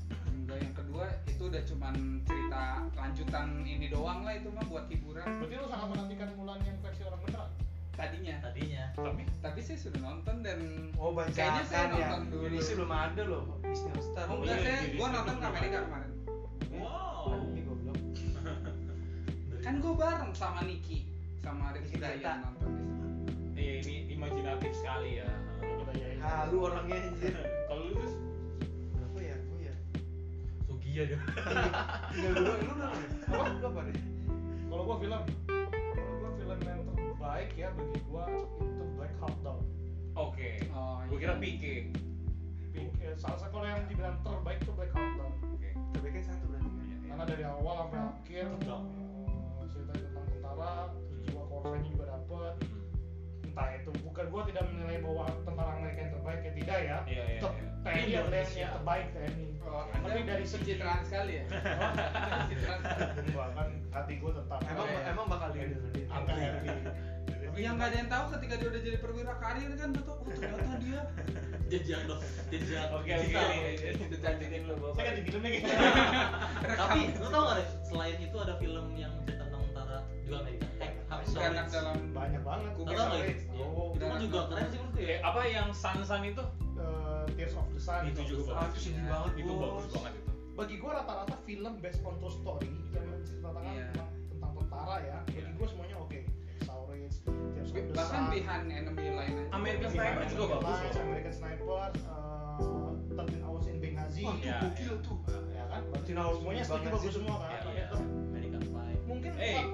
Speaker 5: Enggak, yang kedua itu udah cuman cerita lanjutan ini doang lah itu mah buat hiburan
Speaker 3: berarti lu sangat menantikan Mulan yang versi orang beneran
Speaker 5: tadinya.
Speaker 4: tadinya.
Speaker 3: tapi
Speaker 5: Tapi saya sudah nonton dan
Speaker 2: Oh bancakan
Speaker 5: Kayaknya saya
Speaker 2: ya.
Speaker 5: nonton dulu.
Speaker 2: Indonesia belum ada loh. Disney All Star.
Speaker 5: oh,
Speaker 1: Oh,
Speaker 5: enggak
Speaker 1: iya,
Speaker 5: saya
Speaker 1: jadi
Speaker 5: gua
Speaker 1: saya
Speaker 5: nonton ke
Speaker 1: belum
Speaker 5: Amerika
Speaker 1: nonton.
Speaker 5: kemarin.
Speaker 1: wow
Speaker 2: Oh, Ini goblok.
Speaker 5: Kan gua bareng sama Niki sama Rizky
Speaker 2: Niki Dayat.
Speaker 5: Dayan nonton di sana.
Speaker 1: iya ini imajinatif sekali ya (laughs)
Speaker 2: Halu orangnya anjir.
Speaker 1: kalau lu terus
Speaker 2: Apa ya? Apa ya?
Speaker 4: Sugiya (laughs) dia.
Speaker 2: Tinggal dulu lu udah apa? Lu apa deh?
Speaker 3: kalau gua film kalau gua film yang terbaik ya bagi gua itu Black Hawk Down
Speaker 1: oke
Speaker 5: Oh,
Speaker 1: gue kira pike
Speaker 3: Big- eh, salah satu kalau yang dibilang terbaik itu Black Hawk Down
Speaker 1: oke
Speaker 2: Terbaiknya kan satu berarti.
Speaker 3: karena dari awal sampai akhir
Speaker 4: Tegak.
Speaker 3: eh, ceritanya tentang tentara terus jiwa korsanya juga dapet entah itu bukan gua tidak menilai bahwa tentara Amerika yang terbaik ya tidak ya
Speaker 1: iya iya
Speaker 3: tetap
Speaker 1: iya.
Speaker 3: TNI adalah yang-
Speaker 4: Indonesia.
Speaker 3: yang terbaik TNI
Speaker 5: Oh,
Speaker 3: tapi dari segi
Speaker 5: pencitraan sekali ya. Pencitraan sekali.
Speaker 3: Gua kan hati gua tetap
Speaker 2: Emang
Speaker 3: eh,
Speaker 2: emang bakal di
Speaker 3: angka RI
Speaker 5: Tapi yang nggak ada yang tahu ketika dia udah jadi perwira karir kan tuh oh ternyata dia
Speaker 4: Jejak dong. Jejak.
Speaker 1: oke oke
Speaker 4: digital.
Speaker 1: itu janjiin lu bapak
Speaker 3: saya kan di filmnya gitu
Speaker 4: Tapi lu tau gak deh, selain itu ada film yang cerita tentang tentara juga Amerika. Hack Hacksaw
Speaker 5: beranak
Speaker 4: Ridge.
Speaker 5: dalam
Speaker 3: banyak banget
Speaker 5: Tau
Speaker 4: Tau gak
Speaker 3: Kukisawi.
Speaker 4: itu? Iya.
Speaker 3: Oh,
Speaker 4: Itu kan juga keren sih menurut gue ya.
Speaker 1: Eh, apa yang sansan itu
Speaker 3: eh, Tears of the Sun
Speaker 1: itu juga
Speaker 2: Ah,
Speaker 1: bagus
Speaker 2: itu sedih
Speaker 5: Iya.
Speaker 2: banget.
Speaker 1: itu
Speaker 2: Bos.
Speaker 1: bagus banget itu
Speaker 3: bagi gue rata-rata film based on true story yang cerita tentang
Speaker 5: Iya.
Speaker 3: tentang, tentang tentara ya bagi
Speaker 1: Iya.
Speaker 3: gue semuanya oke Saurus Tears of the
Speaker 5: bahkan
Speaker 3: Sun,
Speaker 5: behind enemy line aja.
Speaker 1: American
Speaker 3: American
Speaker 1: Sniper juga
Speaker 3: Sniper,
Speaker 1: bagus loh.
Speaker 3: American Sniper eh, 13 Hours in Benghazi
Speaker 2: Wah, itu
Speaker 1: Iya,
Speaker 2: gokil tuh.
Speaker 3: ya kan berarti
Speaker 2: Teen Hours
Speaker 3: semuanya
Speaker 2: bagus
Speaker 3: setuju
Speaker 2: banget
Speaker 3: bagus
Speaker 2: sih.
Speaker 3: semua kan
Speaker 1: Iya,
Speaker 3: Tapi
Speaker 1: iya.
Speaker 3: tetap
Speaker 4: American Pie.
Speaker 3: mungkin
Speaker 1: Eh.
Speaker 3: tetap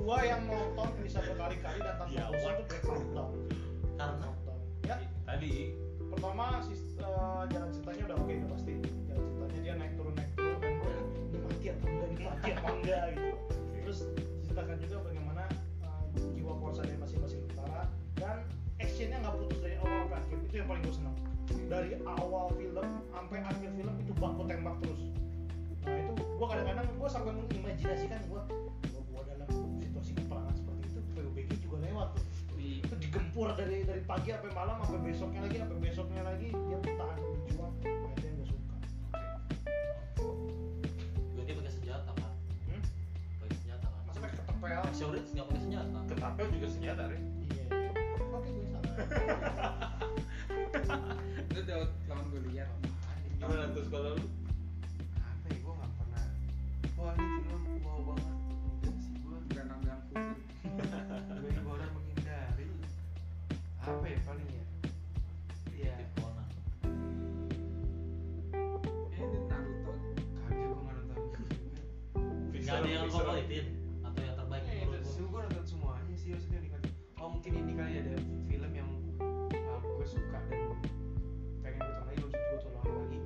Speaker 3: gua yang nonton bisa berkali-kali dan tanpa
Speaker 1: Iya,
Speaker 3: bosan
Speaker 1: what?
Speaker 3: tuh Black Countdown
Speaker 4: Karena
Speaker 3: ya
Speaker 1: tadi
Speaker 3: pertama sis- eh, jalan ceritanya udah oke udah pasti jalan ceritanya dia naik turun naik turun dan gue ini mati atau enggak ini mati apa enggak gitu terus diceritakan juga bagaimana eh, jiwa korsa dari masing-masing tentara dan actionnya nggak putus dari awal sampai akhir itu yang paling gue seneng dari awal film sampai akhir film itu baku tembak terus nah itu gue kadang-kadang gue sampai mengimajinasikan gue gue gua dalam situasi peperangan seperti itu PUBG juga lewat tuh
Speaker 5: Di-
Speaker 3: itu digempur dari dari pagi sampai malam sampai besoknya lagi sampai besoknya lagi dia bertahan berjuang nah, itu yang gue suka
Speaker 4: gue dia pakai senjata kan.
Speaker 3: hmm?
Speaker 4: Pakai senjata kan.
Speaker 3: masa pakai ketepel
Speaker 4: Hacksaw Ridge nggak pakai senjata.
Speaker 1: ketapel juga senjata Re.
Speaker 3: iya oke gue salah
Speaker 5: Lu Daud lawan Goliat.
Speaker 1: gimana tuh kalau lu
Speaker 2: Apa ya? Gua nggak pernah. Wah ini film wow banget. Enggak sih gua.
Speaker 5: Beranak dalam kufur.
Speaker 2: Bagi orang menghindari. Apa ya paling ya? Iya.
Speaker 4: Detektif Conan.
Speaker 5: Eh, ini Naruto.
Speaker 2: Kagak gua nggak nonton.
Speaker 4: Nggak ada yang
Speaker 1: Fixer.
Speaker 4: favoritin atau yang terbaik
Speaker 2: Eh,
Speaker 4: menurut
Speaker 2: Justru
Speaker 4: gue.
Speaker 2: gua nonton semuanya sih maksudnya yang dikasih. Oh mungkin ini kali ada film yang um, gue suka dan pengen gue tonton lagi belum gue tonton lagi.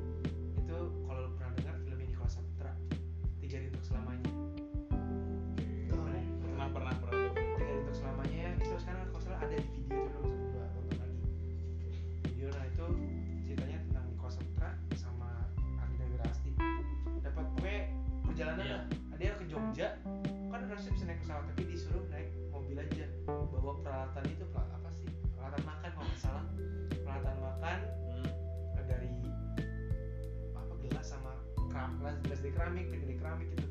Speaker 2: Itu kalau lo pernah dengar film ini kalau Saputra tiga hari untuk selamanya.
Speaker 1: pernah pernah pernah
Speaker 2: Tiga hari untuk selamanya itu sekarang kalau salah ada di video itu udah masuk gua tonton lagi. Kan
Speaker 1: Hmm,
Speaker 2: eh, keramik dari dari keramik gitu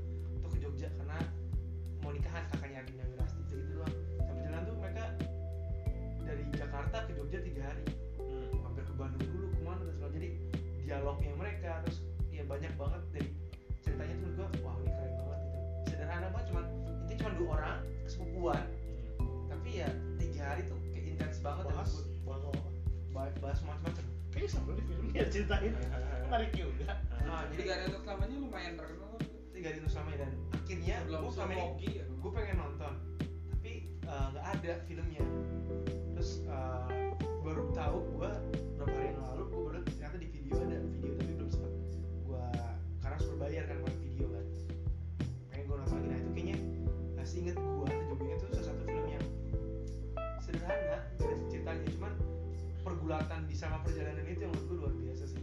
Speaker 2: tuh ke Jogja karena mau nikahan kakaknya Agina Wirasti gitu, gitu doang sampai jalan tuh mereka dari Jakarta ke Jogja tiga hari
Speaker 1: hmm,
Speaker 2: hampir ke Bandung dulu kemana dan segala jadi dialognya mereka terus ya banyak banget dari ceritanya tuh gue wah ini keren banget gitu sederhana banget cuman intinya cuma dua orang kesepupuan
Speaker 1: hmm.
Speaker 2: tapi ya tiga hari tuh kayak intens banget dan
Speaker 3: bahas
Speaker 2: gua-
Speaker 3: bahas apa
Speaker 2: bahas, bahas macam-macam
Speaker 3: kayaknya sebelum di film dia (laughs) ceritain menarik juga
Speaker 2: nah,
Speaker 5: Ah, jadi
Speaker 2: jadi
Speaker 5: gak ada yang selamanya lumayan terkenal
Speaker 2: tiga hari terus sama ya, dan akhirnya
Speaker 5: belum
Speaker 2: gue selama ini
Speaker 5: hoki ya
Speaker 2: gue Iya, pengen nonton tapi eh, nggak ada filmnya terus eh, baru tahu gue beberapa hari yang lalu gue baru ternyata di video ada video tapi belum sempat gue karena harus berbayar kan buat video kan pengen gue nonton lagi nah itu kayaknya nah, seinget gue sejauhnya itu salah satu film yang sederhana gak ada ceritanya cuman pergulatan di sama perjalanan itu yang menurut gue luar biasa sih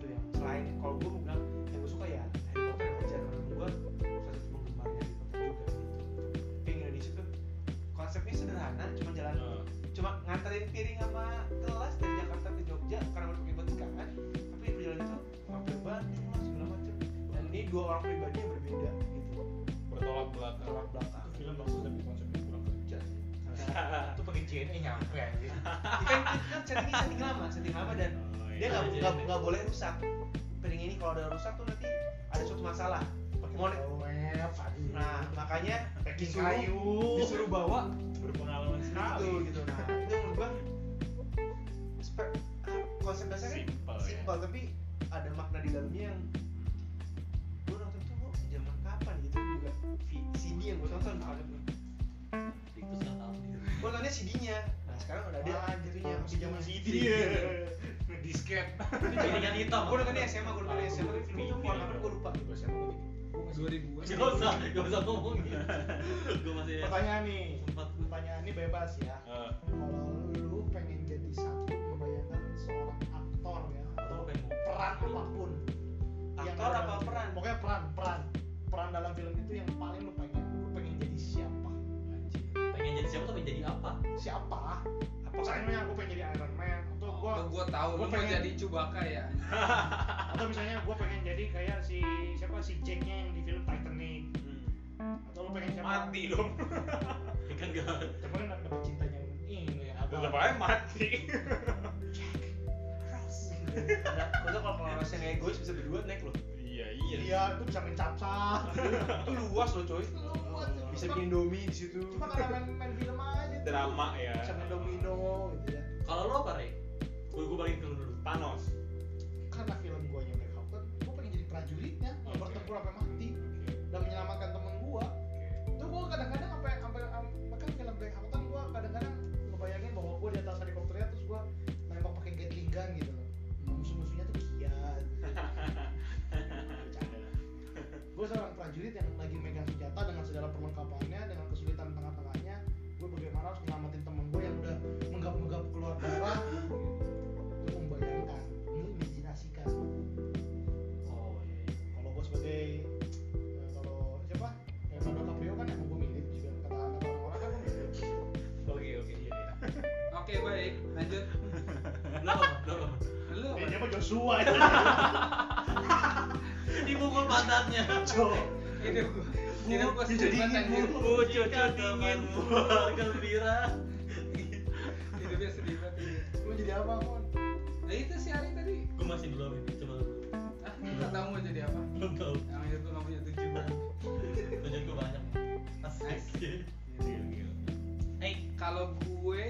Speaker 2: itu yang selain kalau gue mau bilang yang gue suka ya Harry Potter aja menurut gue salah satu penggemarnya Harry Potter juga gitu kayak Indonesia tuh konsepnya sederhana cuma jalan cuma nganterin piring sama gelas dari Jakarta ke Jogja karena udah ribet sekarang tapi di perjalanan itu mampir Bandung lah segala macam dan ini dua orang pribadi yang berbeda gitu
Speaker 1: bertolak belakang
Speaker 2: tolak belakang
Speaker 3: film bagus tapi konsepnya kurang
Speaker 2: (laughs)
Speaker 3: Iya, kerja
Speaker 7: itu pengejian
Speaker 3: E
Speaker 7: eh nyampe anjir
Speaker 2: kan kan settingnya setting lama setting lama dan dia nggak
Speaker 4: Iya,
Speaker 2: nggak
Speaker 4: iya.
Speaker 2: nggak boleh rusak piring ini kalau ada rusak tuh nanti ada suatu masalah
Speaker 3: pakai
Speaker 2: Monet.
Speaker 3: web aduh
Speaker 2: nah makanya
Speaker 3: packing
Speaker 2: disuruh-
Speaker 3: kayu
Speaker 2: disuruh bawa
Speaker 3: berpengalaman sekali
Speaker 2: gitu gitu nah itu menurut gua spe- konsep dasarnya kan
Speaker 7: Simple, ya.
Speaker 2: simpel tapi ada makna di dalamnya yang gua nonton tuh gua zaman kapan gitu juga V- CD yang gua tonton maksud gua.
Speaker 4: Tikus gak tahu
Speaker 2: (laughs)
Speaker 4: diri.
Speaker 2: gua nontonnya CD-nya nah sekarang udah ada
Speaker 3: Wah,
Speaker 2: jadinya
Speaker 3: Ah, iya, masih zaman Iya, CD
Speaker 1: Iya.
Speaker 7: disket
Speaker 4: Jaringan hitam.
Speaker 2: gua nontonnya SMA gua
Speaker 3: Ah,
Speaker 2: nontonnya SMA tapi filmnya tuh keluar kapan gua lupa
Speaker 3: Bahasa apa gitu, tadi?
Speaker 5: dua ribuan
Speaker 4: Gak usah, gak usah ngomong gitu. Gue masih
Speaker 3: pertanyaan nih
Speaker 4: sempat
Speaker 3: pertanyaan ini bebas ya kalau lu pengen jadi satu membayangkan seorang aktor ya atau
Speaker 4: Atau pengen
Speaker 3: peran apapun Yang
Speaker 2: aktor
Speaker 3: ada-
Speaker 2: apa peran
Speaker 3: pokoknya peran peran peran dalam film itu yang paling lu pengen lu pengen jadi siapa
Speaker 4: pengen jadi siapa tapi jadi apa? (laughs)
Speaker 3: siapa apa misalnya aku pengen jadi Iron Man atau gua
Speaker 5: Oh, gua tahu
Speaker 3: gua
Speaker 5: lu mau
Speaker 3: pengen-
Speaker 5: jadi Cubaka ya
Speaker 3: atau misalnya gua pengen jadi kayak si siapa si Jacknya yang di film Titanic atau lu pengen siapa
Speaker 7: mati dong
Speaker 4: Ya kan gak
Speaker 3: cuma kan ada cintanya yang ini ya. yang abang.
Speaker 7: tetap aja mati
Speaker 2: Nah, maksudnya kalau kalau rasanya kayak egois bisa berdua naik loh
Speaker 7: iya
Speaker 3: iya itu bisa main capsa
Speaker 2: itu luas loh coy
Speaker 3: Luas.
Speaker 2: bisa bikin domi di situ
Speaker 3: cuma karena main, main film aja tuh.
Speaker 7: drama ya
Speaker 3: bisa main domino gitu ya
Speaker 4: Kalau lo apa, Re? Gue gue balikin ke lu dulu.
Speaker 7: Thanos
Speaker 3: karena film gua yang Black Hawk Down, gua pengen jadi prajuritnya yang
Speaker 7: Oke.
Speaker 3: bertempur sampai mati dan menyelamatkan temen gua itu gua kadang-kadang sampai sampai bahkan film Black Hawk Down gua kadang-kadang ngebayangin bahwa gua di atas helikopternya terus gua nembak pakai Gatling gun gitu loh musuh-musuhnya tuh kian Bercanda lah. gua seorang prajurit yang lagi megang senjata dengan segala perlengkapannya dengan kesulitan tengah-tengahnya gua bagaimana harus nyelamatin temen gua yang udah menggap-menggap keluar darah itu membayangkan mengimajinasikan
Speaker 4: Oh, iya.
Speaker 3: kalau gue sebagai eh, kalau siapa Leonardo DiCaprio kan emang gue mirip juga kata kata orang kan gue mirip
Speaker 1: oke oke iya iya.
Speaker 5: oke baik lanjut (laughs)
Speaker 4: Lo apa? Lo apa?
Speaker 5: lu apa? (laughs)
Speaker 3: mah Joshua itu
Speaker 4: Dipukul pantatnya.
Speaker 5: ini gua ini gua sedih banget anjir
Speaker 4: Wujud dingin gembira.
Speaker 5: hidupnya sedih banget ini.
Speaker 3: gue jadi apa kon
Speaker 5: nah itu si Ari tadi
Speaker 4: Gue masih belum ini. Coba lu.
Speaker 5: ah nggak tahu mau jadi apa
Speaker 4: belum tahu.
Speaker 5: yang itu gua nggak punya tujuan
Speaker 4: Tujuan gue banyak. Asik.
Speaker 5: Iya,
Speaker 4: Hey,
Speaker 5: kalau gue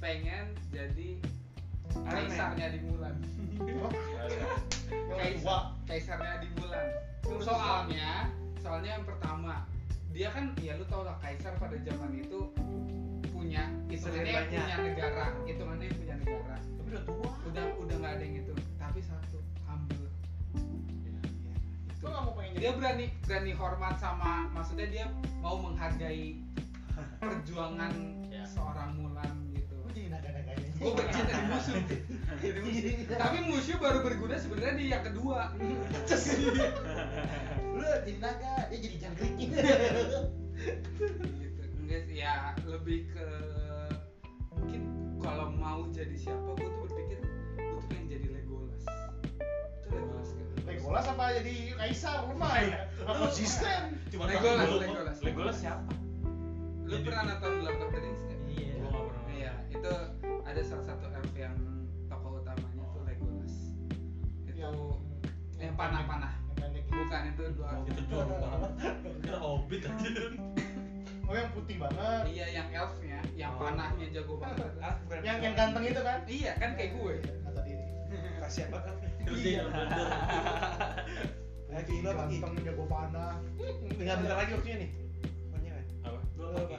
Speaker 5: pengen jadi kaisarnya di Mulan
Speaker 1: Iya,
Speaker 3: Wah.
Speaker 5: Kaisar, kaisarnya di Mulan. Soalnya, soalnya yang pertama, dia kan ya lu tau lah kaisar pada zaman itu punya hitungannya
Speaker 2: banyak.
Speaker 5: punya negara, hitungannya punya negara.
Speaker 4: tapi udah tua.
Speaker 5: Udah udah nggak ada yang itu. Tapi satu humble.
Speaker 3: gue nggak mau gitu. pengen jadi
Speaker 5: Dia berani berani hormat sama maksudnya dia mau
Speaker 3: (laughs)
Speaker 5: menghargai perjuangan
Speaker 4: Ya.
Speaker 5: seorang Mulan gitu.
Speaker 3: gue jadi naga naganya
Speaker 5: Gue benci dari Oh, musuh. Jadi musuh. Tapi musuh baru berguna sebenarnya di yang kedua. Iya,
Speaker 3: lu jadi naga dia jadi jangkrik
Speaker 5: gitu enggak sih ya lebih ke mungkin kalau mau jadi siapa gue tuh berpikir gue tuh pengen jadi Legolas itu Legolas kan
Speaker 3: Legolas. Legolas apa jadi Kaisar lemah ya? Nggak konsisten.
Speaker 4: Cuma
Speaker 5: Legolas,
Speaker 4: takut.
Speaker 5: Legolas.
Speaker 1: Legolas siapa?
Speaker 5: Lu
Speaker 3: Iya.
Speaker 5: pernah nonton Lord of the Rings nggak?
Speaker 4: Iya.
Speaker 1: Gua nggak pernah.
Speaker 5: Iya, itu ada salah satu elf yang tokoh utamanya tuh Legolas. Itu
Speaker 3: Yang
Speaker 5: yang panah-panah.
Speaker 3: yang pendek itu.
Speaker 5: Bukan itu dua.
Speaker 4: Oh, Itu jorok banget. Kira hobbit aja.
Speaker 3: Oh yang putih banget.
Speaker 5: Iya, yang elfnya, yang panahnya jago banget.
Speaker 2: Ah, bukan.
Speaker 3: Yang yang ganteng itu kan?
Speaker 5: Iya, kan kayak gue.
Speaker 3: Kata diri.
Speaker 7: Kasihan banget.
Speaker 4: Terus dia bener.
Speaker 3: Eh gila ganteng jago panah.
Speaker 2: Tinggal bentar lagi waktunya nih. Pokoknya kan.
Speaker 1: Apa?
Speaker 2: Lu apa?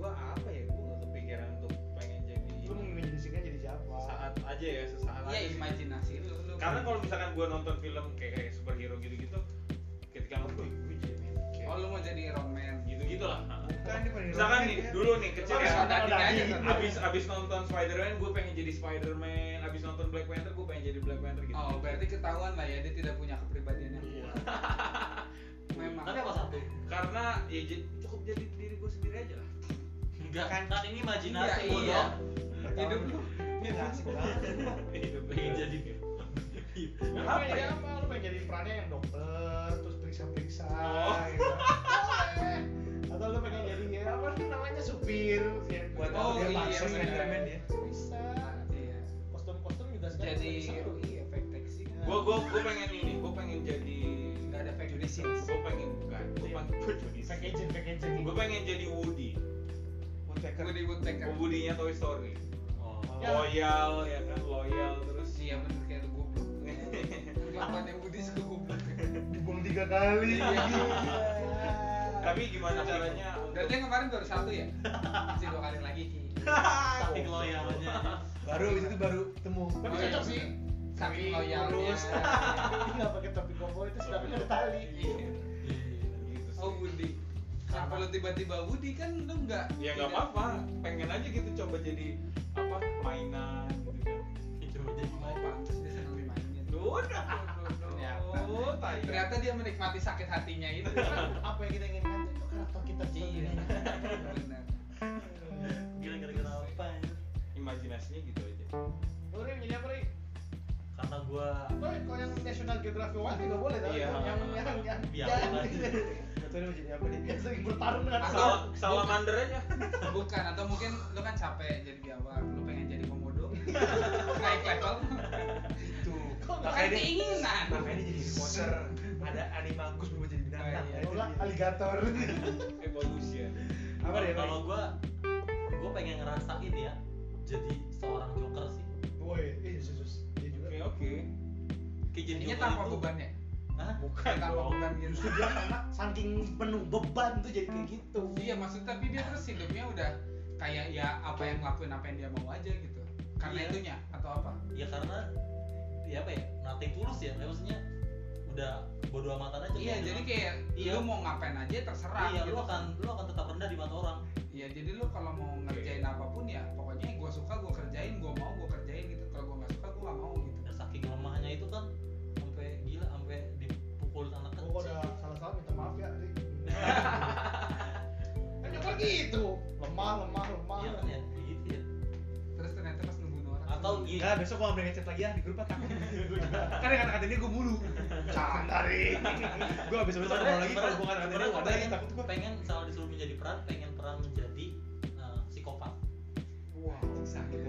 Speaker 1: Gua apa ya? Gua nggak kepikiran untuk pengen jadi
Speaker 3: Lu mengimajinasikan jadi siapa?
Speaker 1: saat aja ya, sesaat aja.
Speaker 5: Iya,
Speaker 1: sih.
Speaker 5: imajinasi lu. lu-
Speaker 1: Karena kalau misalkan gua nonton film kayak, kayak superhero gitu-gitu, ketika nonton gue jadi kayak
Speaker 5: Oh, lu mau jadi roman.
Speaker 1: gitu-gitu lah.
Speaker 3: Bukan ini pengen
Speaker 1: Misalkan
Speaker 3: roket
Speaker 1: nih,
Speaker 3: ya.
Speaker 1: dulu nih kecil
Speaker 3: Pakai
Speaker 1: ya,
Speaker 3: sandal
Speaker 5: abis-
Speaker 3: dadi.
Speaker 5: abis-
Speaker 1: abis abis nonton Spider-Man gue pengen jadi Spider-Man, abis nonton Black Panther gue pengen jadi Black Panther gitu.
Speaker 5: Oh, berarti ketahuan lah ya dia tidak punya kepribadian yang
Speaker 2: Iya.
Speaker 5: kuat. Memang.
Speaker 4: Tapi apa satu?
Speaker 1: Karena ya j- cukup jadi diri gue sendiri aja lah.
Speaker 4: Enggak kan? Kan ini imajinasi
Speaker 5: Iya, iya.
Speaker 4: bodoh.
Speaker 5: Hidup lu.
Speaker 1: Iya,
Speaker 3: Ini asik Ya, banget. Iya.
Speaker 1: Itu
Speaker 4: Pengen jadi
Speaker 3: Lu
Speaker 1: Apa
Speaker 3: pengen jadi
Speaker 1: ya?
Speaker 3: apa? Lu pengen jadi perannya yang dokter, terus periksa-periksa
Speaker 1: Oh.
Speaker 3: gitu. Boleh. Atau lu pengen jadi ya, apa tuh namanya supir ya.
Speaker 2: Buat
Speaker 5: Oh,
Speaker 2: dia
Speaker 5: iya,
Speaker 2: paksa
Speaker 5: bener.
Speaker 2: Spiderman ya.
Speaker 3: Bisa.
Speaker 5: Iya.
Speaker 3: Kostum-kostum juga sekarang
Speaker 5: Jadi
Speaker 3: seru.
Speaker 5: iya, fake taxi.
Speaker 1: Gue gue gue pengen ini, gue pengen jadi
Speaker 5: Enggak ada fake judicials.
Speaker 1: gue pengen bukan,
Speaker 3: Iya.
Speaker 1: gue pengen gue
Speaker 3: Fake agent, fake agent.
Speaker 1: Gue pengen jadi Woody,
Speaker 2: Woodpecker.
Speaker 5: Woody Woodpecker.
Speaker 1: Woody-nya Toy Story.
Speaker 4: Oh.
Speaker 3: Ya.
Speaker 1: Loyal ya kan, loyal terus
Speaker 5: Iya bener kayak lu goblok. Kelakuannya Woody suka goblok.
Speaker 3: Dibuang tiga kali.
Speaker 5: (laughs)
Speaker 2: Iya.
Speaker 5: Iya.
Speaker 2: gitu.
Speaker 1: Tapi gimana caranya
Speaker 5: Berarti yang kemarin baru satu ya? Masih dua kali lagi.
Speaker 4: Saking loyalnya.
Speaker 2: Baru abis itu baru ketemu.
Speaker 3: Tapi cocok sih.
Speaker 5: Saking
Speaker 3: Tapi
Speaker 5: loyalnya.
Speaker 3: lurus. Tapi nggak pakai topi koko itu sudah ada (laughs) tali.
Speaker 5: Iya.
Speaker 1: Gitu sih.
Speaker 5: Oh Woody. Kenapa lu tiba-tiba Woody kan lu enggak?
Speaker 1: ya nggak apa-apa pengen aja gitu coba jadi apa mainan gitu kan
Speaker 4: Coba jadi
Speaker 5: Oh pantes dia senang dimainin.
Speaker 1: Duh, udah
Speaker 5: gitu. (laughs)
Speaker 4: Ya.
Speaker 5: Ternyata.
Speaker 1: Oh, tai.
Speaker 5: Ternyata dia menikmati sakit hatinya itu. kan?
Speaker 3: (laughs) Apa yang kita inginkan itu karakter kita
Speaker 5: Iya.
Speaker 3: sendiri.
Speaker 5: Benar.
Speaker 4: Gila gara-gara apa ya?
Speaker 1: imajinasinya gitu aja
Speaker 3: Lu Rim, jadi apa Rim?
Speaker 4: Karena gua
Speaker 3: Lo kalau yang National Geographic One nggak boleh tau
Speaker 1: Iya.
Speaker 3: yang yang yang yang
Speaker 5: Ya.
Speaker 4: Biar
Speaker 3: yang-
Speaker 4: apa
Speaker 5: (laughs)
Speaker 4: aja.
Speaker 2: Atau dia mau jadi apa nih?
Speaker 3: yang sering bertarung dengan
Speaker 5: Atau-
Speaker 3: pesawat.
Speaker 1: Sal salamander aja
Speaker 5: Bukan atau mungkin lu kan capek jadi biawak, lu pengen jadi komodo. Naik level.
Speaker 2: Itu.
Speaker 3: Kok
Speaker 5: Bukan
Speaker 3: nggak
Speaker 2: Makanya dia
Speaker 5: keinginan.
Speaker 2: makanya dia jadi reporter. Ada animagus berubah jadi binatang.
Speaker 5: Oh, iya.
Speaker 2: Ya, itu
Speaker 3: Atau lah,
Speaker 2: dia.
Speaker 3: aligator.
Speaker 1: evolusi ya
Speaker 2: Apa deh?
Speaker 4: Kalau gua gua pengen ngerasain ya jadi seorang joker sih.
Speaker 3: Woi, iya Yesus. Dia juga.
Speaker 1: oke oke
Speaker 4: Kayak jadi
Speaker 5: Jadinya
Speaker 4: joker
Speaker 5: tanpa
Speaker 4: itu-
Speaker 5: beban ya.
Speaker 4: Hah?
Speaker 1: bukan
Speaker 5: Tanpa
Speaker 1: dong
Speaker 5: beban gitu.
Speaker 3: Justru dia karena saking penuh beban tuh jadi kayak gitu.
Speaker 5: Iya maksud tapi dia terus hidupnya udah kayak ya apa yang ngelakuin apa yang dia mau aja gitu. Karena
Speaker 4: Iya.
Speaker 5: itunya atau apa?
Speaker 4: Ya karena ya apa ya? Nothing tulus ya. Maksudnya udah bodo amatan aja.
Speaker 5: Iya
Speaker 4: kayak
Speaker 5: jadi
Speaker 4: gitu.
Speaker 5: kayak
Speaker 4: Iya.
Speaker 5: lu mau ngapain aja terserah
Speaker 4: Iya,
Speaker 5: gitu.
Speaker 4: lu akan lu akan tetap rendah di mata orang.
Speaker 5: Iya jadi lu kalau mau ngerjain apapun ya pokoknya gue suka gue kerjain, gue mau gue kerjain gitu. Kalau gue nggak suka gue nggak mau gitu.
Speaker 4: Dan saking lemahnya itu kan sampai gila sampai dipukul anak
Speaker 3: Oh, Gua
Speaker 4: kecil.
Speaker 3: udah salah-salah minta maaf ya, Ri. Kan nyokar gitu. Lemah, lemah, lemah.
Speaker 4: Iya kan ya, kayak gitu ya.
Speaker 5: Terus ternyata pas ngebunuh orang.
Speaker 4: Atau iya.
Speaker 2: Enggak, besok gua nggak boleh ngechat lagi ya di grup
Speaker 3: (laughs)
Speaker 2: ah, takut. Kan dengan kata ini gua
Speaker 4: (laughs)
Speaker 2: mulu.
Speaker 3: Canda, Ri.
Speaker 2: (laughs) Gua habis besok
Speaker 4: Sebenarnya-
Speaker 2: ngomong lagi kalau gua kata ini
Speaker 4: sebenarnya
Speaker 2: wadah lagi takut gua.
Speaker 4: pengen kalau disuruh menjadi peran pengen peran menjadi eh, psikopat
Speaker 5: wah gitu. sakit.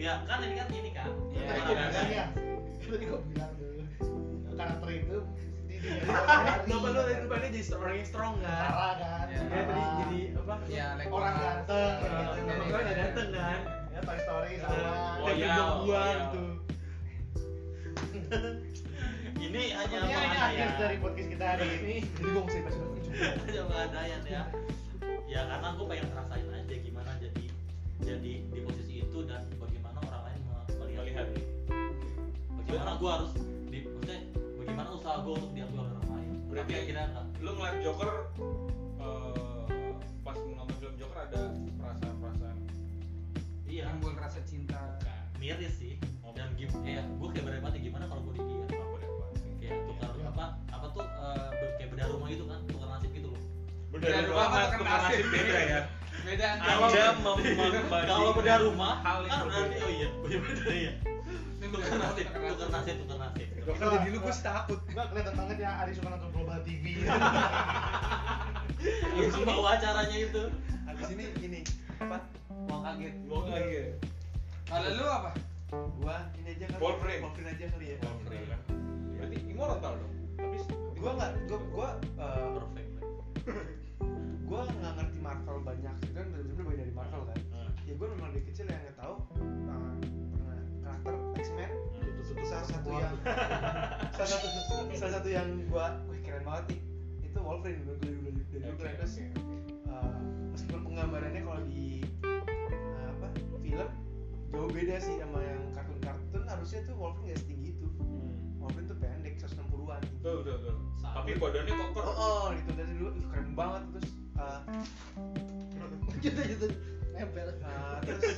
Speaker 4: ya kan ini kan ini kan
Speaker 1: Iya,
Speaker 3: Tadi gua
Speaker 1: iya,
Speaker 3: bilang
Speaker 1: iya.
Speaker 3: ya. Tadi gua bilang dulu. Karakter itu di dia.
Speaker 2: Bapak lu dari depannya jadi orang yang strong kan?
Speaker 3: Parah kan?
Speaker 5: Iya.
Speaker 2: Dia tadi jadi apa?
Speaker 5: Iya, like
Speaker 3: orang ganteng.
Speaker 2: Eh,
Speaker 3: gitu.
Speaker 2: Bapak lu udah dateng kan?
Speaker 3: Ya Toy Story
Speaker 1: Oh,
Speaker 3: sama.
Speaker 1: iya.
Speaker 2: Dia buang
Speaker 1: loyal.
Speaker 2: tuh.
Speaker 4: ini hanya
Speaker 3: Sepertinya ini akhir
Speaker 4: pegadaian
Speaker 3: dari podcast kita hari ini.
Speaker 2: Jadi gua mesti pas udah cukup.
Speaker 4: (laughs) hanya pegadaian ya ya karena aku pengen ngerasain aja gimana jadi jadi di posisi itu dan bagaimana orang lain me- melihat,
Speaker 1: melihat
Speaker 4: bagaimana gua harus di maksudnya bagaimana usaha gua untuk diakui oleh orang lain
Speaker 1: Berarti-
Speaker 4: Tapi akhirnya enggak
Speaker 1: lu ngeliat Joker eh, pas nonton film Joker ada perasaan-perasaan "Nah,
Speaker 4: iya
Speaker 5: Timbul rasa cinta.
Speaker 1: bukan
Speaker 4: miris sih
Speaker 1: Oh.
Speaker 4: dan gim ya gua kayak berdebat ya gimana kalau gua di dia
Speaker 1: apa deh pasti
Speaker 4: kayak tukar
Speaker 3: Iya.
Speaker 4: apa apa tuh eh, ber- kayak beda rumah gitu kan tukar nasib gitu loh
Speaker 1: bener
Speaker 5: Beda
Speaker 1: banget
Speaker 5: banget,
Speaker 1: tukar nasib
Speaker 5: nasib.
Speaker 1: beda ya
Speaker 5: Beda antara
Speaker 1: (laughs) anda mem- membandingkan
Speaker 4: kalau beda rumah
Speaker 1: hal yang
Speaker 4: kan berarti
Speaker 1: berbeda.
Speaker 4: oh iya oh iya beda ya
Speaker 5: Ini
Speaker 4: tukar nasib tukar nasib tukar nasib
Speaker 2: Kalau jadi lu gue sih takut.
Speaker 3: Enggak kelihatan banget ya Ari suka nonton Global TV.
Speaker 4: itu bawa acaranya Iya, itu
Speaker 2: Habis ini ini apa? Uang kaget.
Speaker 1: Gua kaget.
Speaker 5: Kalau lu apa?
Speaker 2: Gua ini aja kali.
Speaker 1: Ball frame.
Speaker 2: Ball frame aja kali ya.
Speaker 1: Wah, free lah. Iya. Berarti immortal dong. Habis
Speaker 2: Gua nggak, gua gua eh,
Speaker 4: perfect
Speaker 2: gua nggak ngerti Marvel banyak. Itu kan sebenarnya banyak dari Marvel kan. Ya gua memang dari kecil yang nggak tahu eh, pernah karakter X-Men salah satu yang (laughs) salah satu salah satu yang gua wah keren banget nih itu Wolverine dari dulu dulu dari dulu keren terus eh, meskipun penggambarannya kalau di eh, apa film jauh beda sih sama yang kartun-kartun harusnya tuh Wolverine gak setinggi itu Wolverine tuh pendek 160-an
Speaker 1: Hmm. Tuh, tuh, tuh. Tapi badannya koker.
Speaker 2: oh, oh gitu dari dulu ih, keren banget terus eh, gitu gitu nempel Eh, terus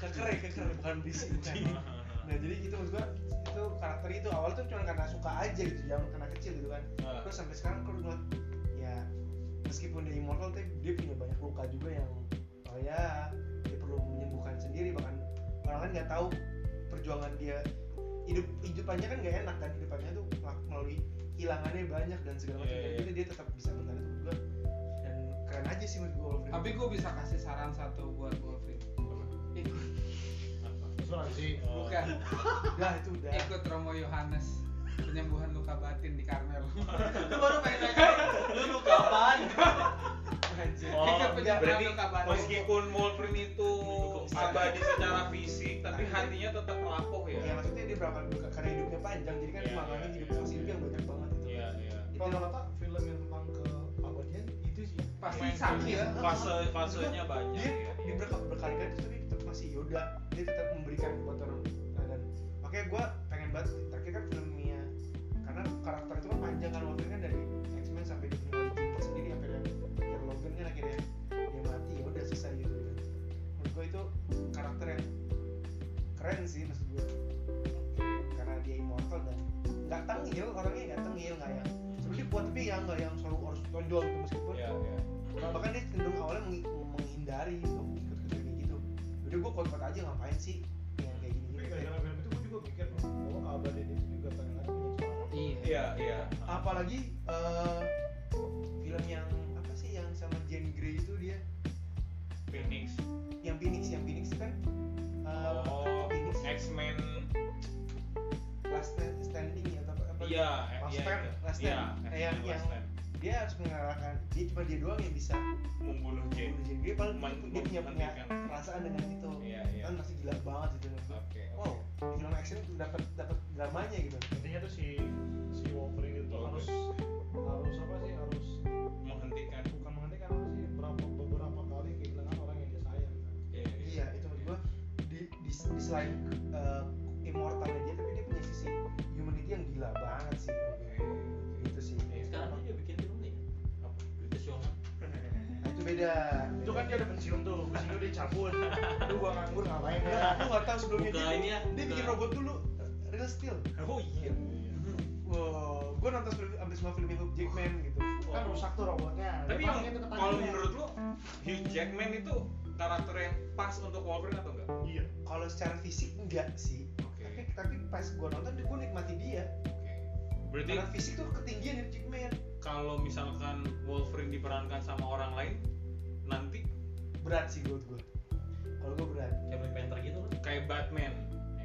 Speaker 2: keker ya keker bukan
Speaker 1: (laughs)
Speaker 2: bisik bukan nah jadi gitu maksud gua itu karakter itu awal tuh cuma karena suka aja gitu zaman karena kecil gitu kan
Speaker 1: Ah.
Speaker 2: terus sampai sekarang kalau gua ya meskipun dia immortal tapi dia punya banyak luka juga yang oh ya dia perlu menyembuhkan sendiri bahkan orang kan nggak tahu perjuangan dia hidup hidupannya kan nggak enak dan hidupannya tuh melak- melalui hilangannya banyak dan segala
Speaker 1: Iya,
Speaker 2: macam Dan
Speaker 1: iya.
Speaker 2: gitu dia tetap bisa bertahan itu gua dan keren aja sih menurut gua Wolverine.
Speaker 5: Tapi gue bisa kasih saran satu buat Wolverine. Ikut,
Speaker 3: Terus sih.
Speaker 4: Oh.
Speaker 5: bukan.
Speaker 2: udah itu
Speaker 4: Ya.
Speaker 2: udah
Speaker 5: Ikut Romo Yohanes penyembuhan luka batin di Karmel.
Speaker 4: (laughs) itu baru pengen nanya lu lu kapan
Speaker 2: Anjir.
Speaker 1: (laughs) Oh,
Speaker 5: Ikut
Speaker 1: enggak, berarti
Speaker 5: penyembuhan luka batin.
Speaker 1: meskipun Wolverine itu abadi secara fisik, tapi hatinya tetap rapuh ya.
Speaker 2: Ya maksudnya dia berapa karena hidupnya panjang jadi kan
Speaker 1: Iya,
Speaker 2: makanya
Speaker 1: iya,
Speaker 2: hidup
Speaker 1: iya.
Speaker 2: masih hidup yang banyak banget gitu. itu.
Speaker 1: Iya, iya.
Speaker 3: Kalau kata film yang tentang keabadian itu sih.
Speaker 5: Pasti
Speaker 1: Main
Speaker 5: sakit.
Speaker 2: iya.
Speaker 1: Fase fasenya banyak.
Speaker 2: Dia,
Speaker 1: ya.
Speaker 2: Iya, dia berka- berkali-kali terus tapi tetap masih Yoda dia tetap memberikan buat orang Nah, dan makanya gue pengen banget terakhir kan filmnya karena karakter itu kan panjang kan waktu kan dari X-Men sampai di film Origins sendiri sampai dari Peter Logan kan akhirnya dia mati ya udah selesai gitu kan menurut gue itu karakter yang keren sih maksud gue karena dia immortal dan nggak tengil orangnya nggak tengil nggak yang sebenarnya buat tapi yang nggak yang selalu harus tonjol gitu meskipun
Speaker 1: Iya, iya.
Speaker 2: Nah, bahkan dia cenderung awalnya meng- menghindari untuk ikut ke kayak gitu udah gue kuat-kuat aja ngapain sih yang kayak gini
Speaker 3: Tapi
Speaker 2: gitu
Speaker 3: gara-gara film itu gue juga mikir bahwa keabadian itu juga kadang-kadang punya seorang.
Speaker 1: Iya, iya.
Speaker 2: apalagi eh, film yang apa sih yang sama Jane Grey itu dia
Speaker 1: Phoenix.
Speaker 2: yang Phoenix yang Phoenix itu kan eh,
Speaker 1: Oh,
Speaker 2: Phoenix
Speaker 1: X-Men.
Speaker 2: last Stand- standing ya atau apa, apa
Speaker 1: Iya, eh,
Speaker 2: Last
Speaker 1: iya.
Speaker 2: Stand,
Speaker 1: iya.
Speaker 2: Last
Speaker 1: Iya,
Speaker 2: Stand.
Speaker 1: X-Men,
Speaker 2: Yang-
Speaker 1: Last
Speaker 2: yang-
Speaker 1: Stand.
Speaker 2: dia harus mengalahkan dia cuma dia doang yang bisa
Speaker 1: membunuh Jane.
Speaker 2: membunuh Jane Grey paling
Speaker 1: Men-
Speaker 2: dia punya punya
Speaker 1: menghentikan.
Speaker 2: perasaan dengan itu
Speaker 1: kan. Iya, iya.
Speaker 2: kan masih gila banget itu
Speaker 1: Oke.
Speaker 2: wow film action tuh dapat dapat dramanya gitu
Speaker 3: Intinya tuh si si
Speaker 1: Iya.
Speaker 3: Wolverine itu harus harus apa sih harus
Speaker 1: Menghentikan.
Speaker 3: bukan menghentikan apa sih berapa beberapa kali kehilangan orang yang dia sayang. kan.
Speaker 1: Iya,
Speaker 2: Iya, itu menurut gua di, di, di selain eh, immortalnya dia tapi dia punya sisi humanity yang gila banget sih. Gitu sih.
Speaker 4: sekarang dia bikin film nih
Speaker 1: Apa?
Speaker 4: British Woman
Speaker 2: Nah, itu beda.
Speaker 3: Itu kan dia udah pensiun tuh, pensiun dia dicabut. Lu gua nganggur ngapain ya?
Speaker 2: Nah, aku nggak tahu sebelumnya
Speaker 4: Buka
Speaker 2: dia,
Speaker 4: ini ya,
Speaker 2: dia
Speaker 4: buka.
Speaker 2: bikin robot dulu real steel.
Speaker 1: Oh iya.
Speaker 2: Wow, gua nonton sebelum hampir semua filmnya Hugh Jackman gitu.
Speaker 3: Kan rusak tuh robotnya.
Speaker 1: Tapi
Speaker 3: Dia
Speaker 1: yang
Speaker 3: pakai itu ke
Speaker 1: kalau
Speaker 3: tangannya.
Speaker 1: menurut lu Hugh Jackman itu karakter yang pas untuk Wolverine atau enggak?
Speaker 3: iya.
Speaker 2: Kalau secara fisik enggak sih.
Speaker 1: Oke.
Speaker 2: Tapi tapi pas gua nonton gua nikmati dia.
Speaker 1: Oke. Berarti
Speaker 2: Karena fisik tuh ketinggian Hugh Jackman.
Speaker 1: kalau misalkan Wolverine diperankan sama orang lain nanti
Speaker 2: Berat sih gua gua. Kalau gua berat.
Speaker 4: Kevin Panther gitu loh
Speaker 1: kayak Batman.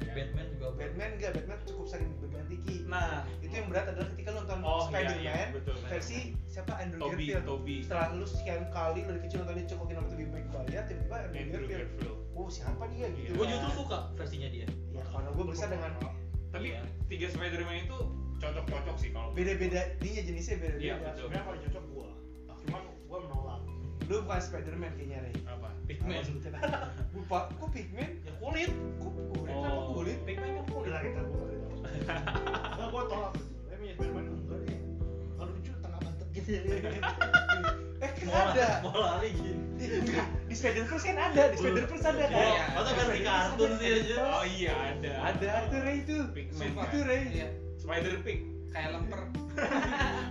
Speaker 1: ya kan?
Speaker 4: Batman juga
Speaker 2: Iya. Batman enggak, Batman cukup sering berganti ki.
Speaker 1: Nah,
Speaker 2: itu yang berat adalah ketika lu nonton
Speaker 1: Oh, iya,
Speaker 2: Spider-Man
Speaker 1: iya, betul.
Speaker 2: versi siapa Andrew
Speaker 1: Toby,
Speaker 2: Garfield
Speaker 1: Toby.
Speaker 2: setelah lu sekian kali lu dari kecil nonton dia cokokin sama Tobey Maguire tiba-tiba Andrew,
Speaker 1: Andrew
Speaker 2: Garfield
Speaker 1: Garfield.
Speaker 2: oh siapa dia gitu
Speaker 1: Iya.
Speaker 4: gue
Speaker 2: kan.
Speaker 4: justru suka versinya dia
Speaker 2: ya karena gue besar dengan
Speaker 1: Tapi
Speaker 4: Iya.
Speaker 1: tiga Spider-Man itu cocok-cocok sih kalau
Speaker 2: beda-beda ininya jenisnya
Speaker 1: Iya,
Speaker 2: beda-beda
Speaker 1: betul.
Speaker 3: Sebenarnya kalau cocok gua. Cuman gua menolak.
Speaker 2: lu bukan Spider-Man kayaknya Ray
Speaker 1: apa?
Speaker 4: Pigman
Speaker 2: (laughs) lupa kok Pigman
Speaker 4: ya kulit
Speaker 2: kok kulit apa
Speaker 1: Oh,
Speaker 2: kulit
Speaker 4: Pigman kan kulit
Speaker 3: Udah kita (laughs) gua kali tahu. Nah, gua tolak. Tapi punya Spiderman enggak deh. Kalau lucu tengah bantet gitu.
Speaker 2: eh kan
Speaker 4: mau
Speaker 2: ada
Speaker 4: lari- mau lari gini
Speaker 2: di, enggak, di Spider-Verse kan ada di Spider-Verse ada kan
Speaker 4: Iya, masa versi kartun sih aja
Speaker 1: Oh iya ada.
Speaker 2: ada itu Ray itu
Speaker 1: Pigman,
Speaker 2: itu
Speaker 1: kan?
Speaker 2: Ray
Speaker 5: Iya,
Speaker 1: Spider Pig.
Speaker 5: kayak lemper.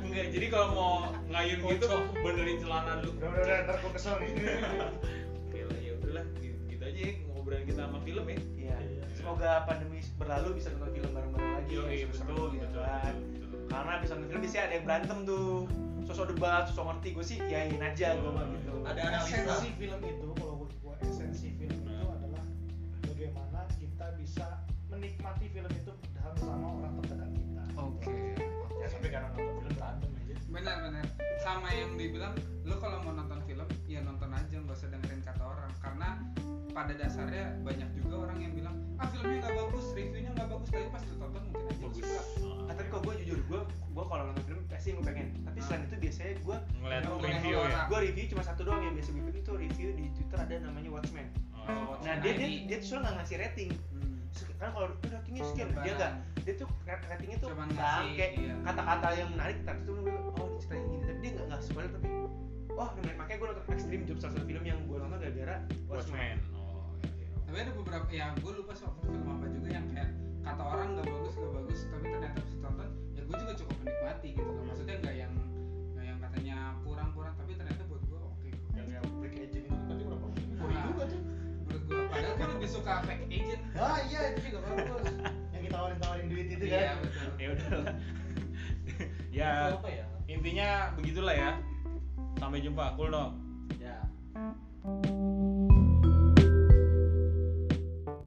Speaker 1: Enggak, jadi kalau mau ngayun gitu benerin celana lu.
Speaker 3: Udah udah udah ntar gua kesel nih.
Speaker 1: Oke lah, ya udahlah gitu, gitu aja ya ngobrol hiburan kita sama film ya
Speaker 2: Iya. Semoga pandemi berlalu bisa nonton film bareng-bareng lagi.
Speaker 1: Yo, iya,
Speaker 2: seru-seru,
Speaker 1: betul,
Speaker 2: ya
Speaker 1: betul,
Speaker 2: kan?
Speaker 1: betul, betul.
Speaker 2: Karena bisa nonton film biasanya ada yang berantem tuh. Sosok debat, sosok ngerti gue sih yain aja gue mah gitu.
Speaker 4: Ada analisa.
Speaker 3: esensi film itu kalau menurut gua esensi film itu adalah bagaimana kita bisa menikmati film itu dalam sama orang terdekat kita
Speaker 2: Oke.
Speaker 3: ya sampai karena nonton film berantem aja
Speaker 5: benar-benar sama yang dibilang lu kalau mau nonton film ya nonton aja nggak usah dengerin kata orang karena pada dasarnya banyak juga orang yang bilang ah filmnya nggak bagus reviewnya nggak bagus tapi pas lu tonton mungkin aja lu
Speaker 1: bagus
Speaker 5: suka
Speaker 2: Nah, tapi kalau gue jujur gue gue kalau nonton film pasti gue pengen. Tapi selain itu biasanya gue
Speaker 1: ngeliat
Speaker 5: Ngomongin
Speaker 1: Ah. review ya
Speaker 5: orang.
Speaker 2: gue review cuma satu doang yang biasa gue bikin itu review di Twitter ada namanya Watchmen.
Speaker 1: Oh.
Speaker 2: Nah dia dia dia tuh nggak ngasih rating.
Speaker 5: Hmm.
Speaker 2: Karena kan kalau itu ratingnya sekian dia nggak dia tuh rat- ratingnya tuh
Speaker 5: Cuman
Speaker 2: bang
Speaker 5: ngasih,
Speaker 2: kayak
Speaker 5: iya.
Speaker 2: kata-kata yang menarik tapi tuh gue oh ini ceritanya gini tapi dia nggak nggak spoiler tapi oh lumayan makanya gue nonton Extreme Job salah satu film yang gue nonton gara-gara Watchmen
Speaker 1: Watchmen oh iya, iya.
Speaker 5: tapi ada beberapa ya gue lupa soal film apa juga yang kayak kata orang nggak bagus nggak bagus tapi ternyata pas ditonton ya gue juga cukup menikmati gitu loh maksudnya nggak yang nggak yang katanya kurang kurang tapi ternyata buat gue oke kok.
Speaker 3: yang yang break agent itu tadi berapa Woi
Speaker 5: Nah.
Speaker 3: juga tuh
Speaker 5: menurut gue padahal gue lebih suka fake agent
Speaker 3: ah iya itu juga bagus yang kita tawarin tawarin duit itu kan
Speaker 5: iya betul
Speaker 1: ya udahlah ya
Speaker 4: apa ya
Speaker 2: Iya.
Speaker 1: intinya begitulah ya sampai jumpa Kulno
Speaker 2: Iya.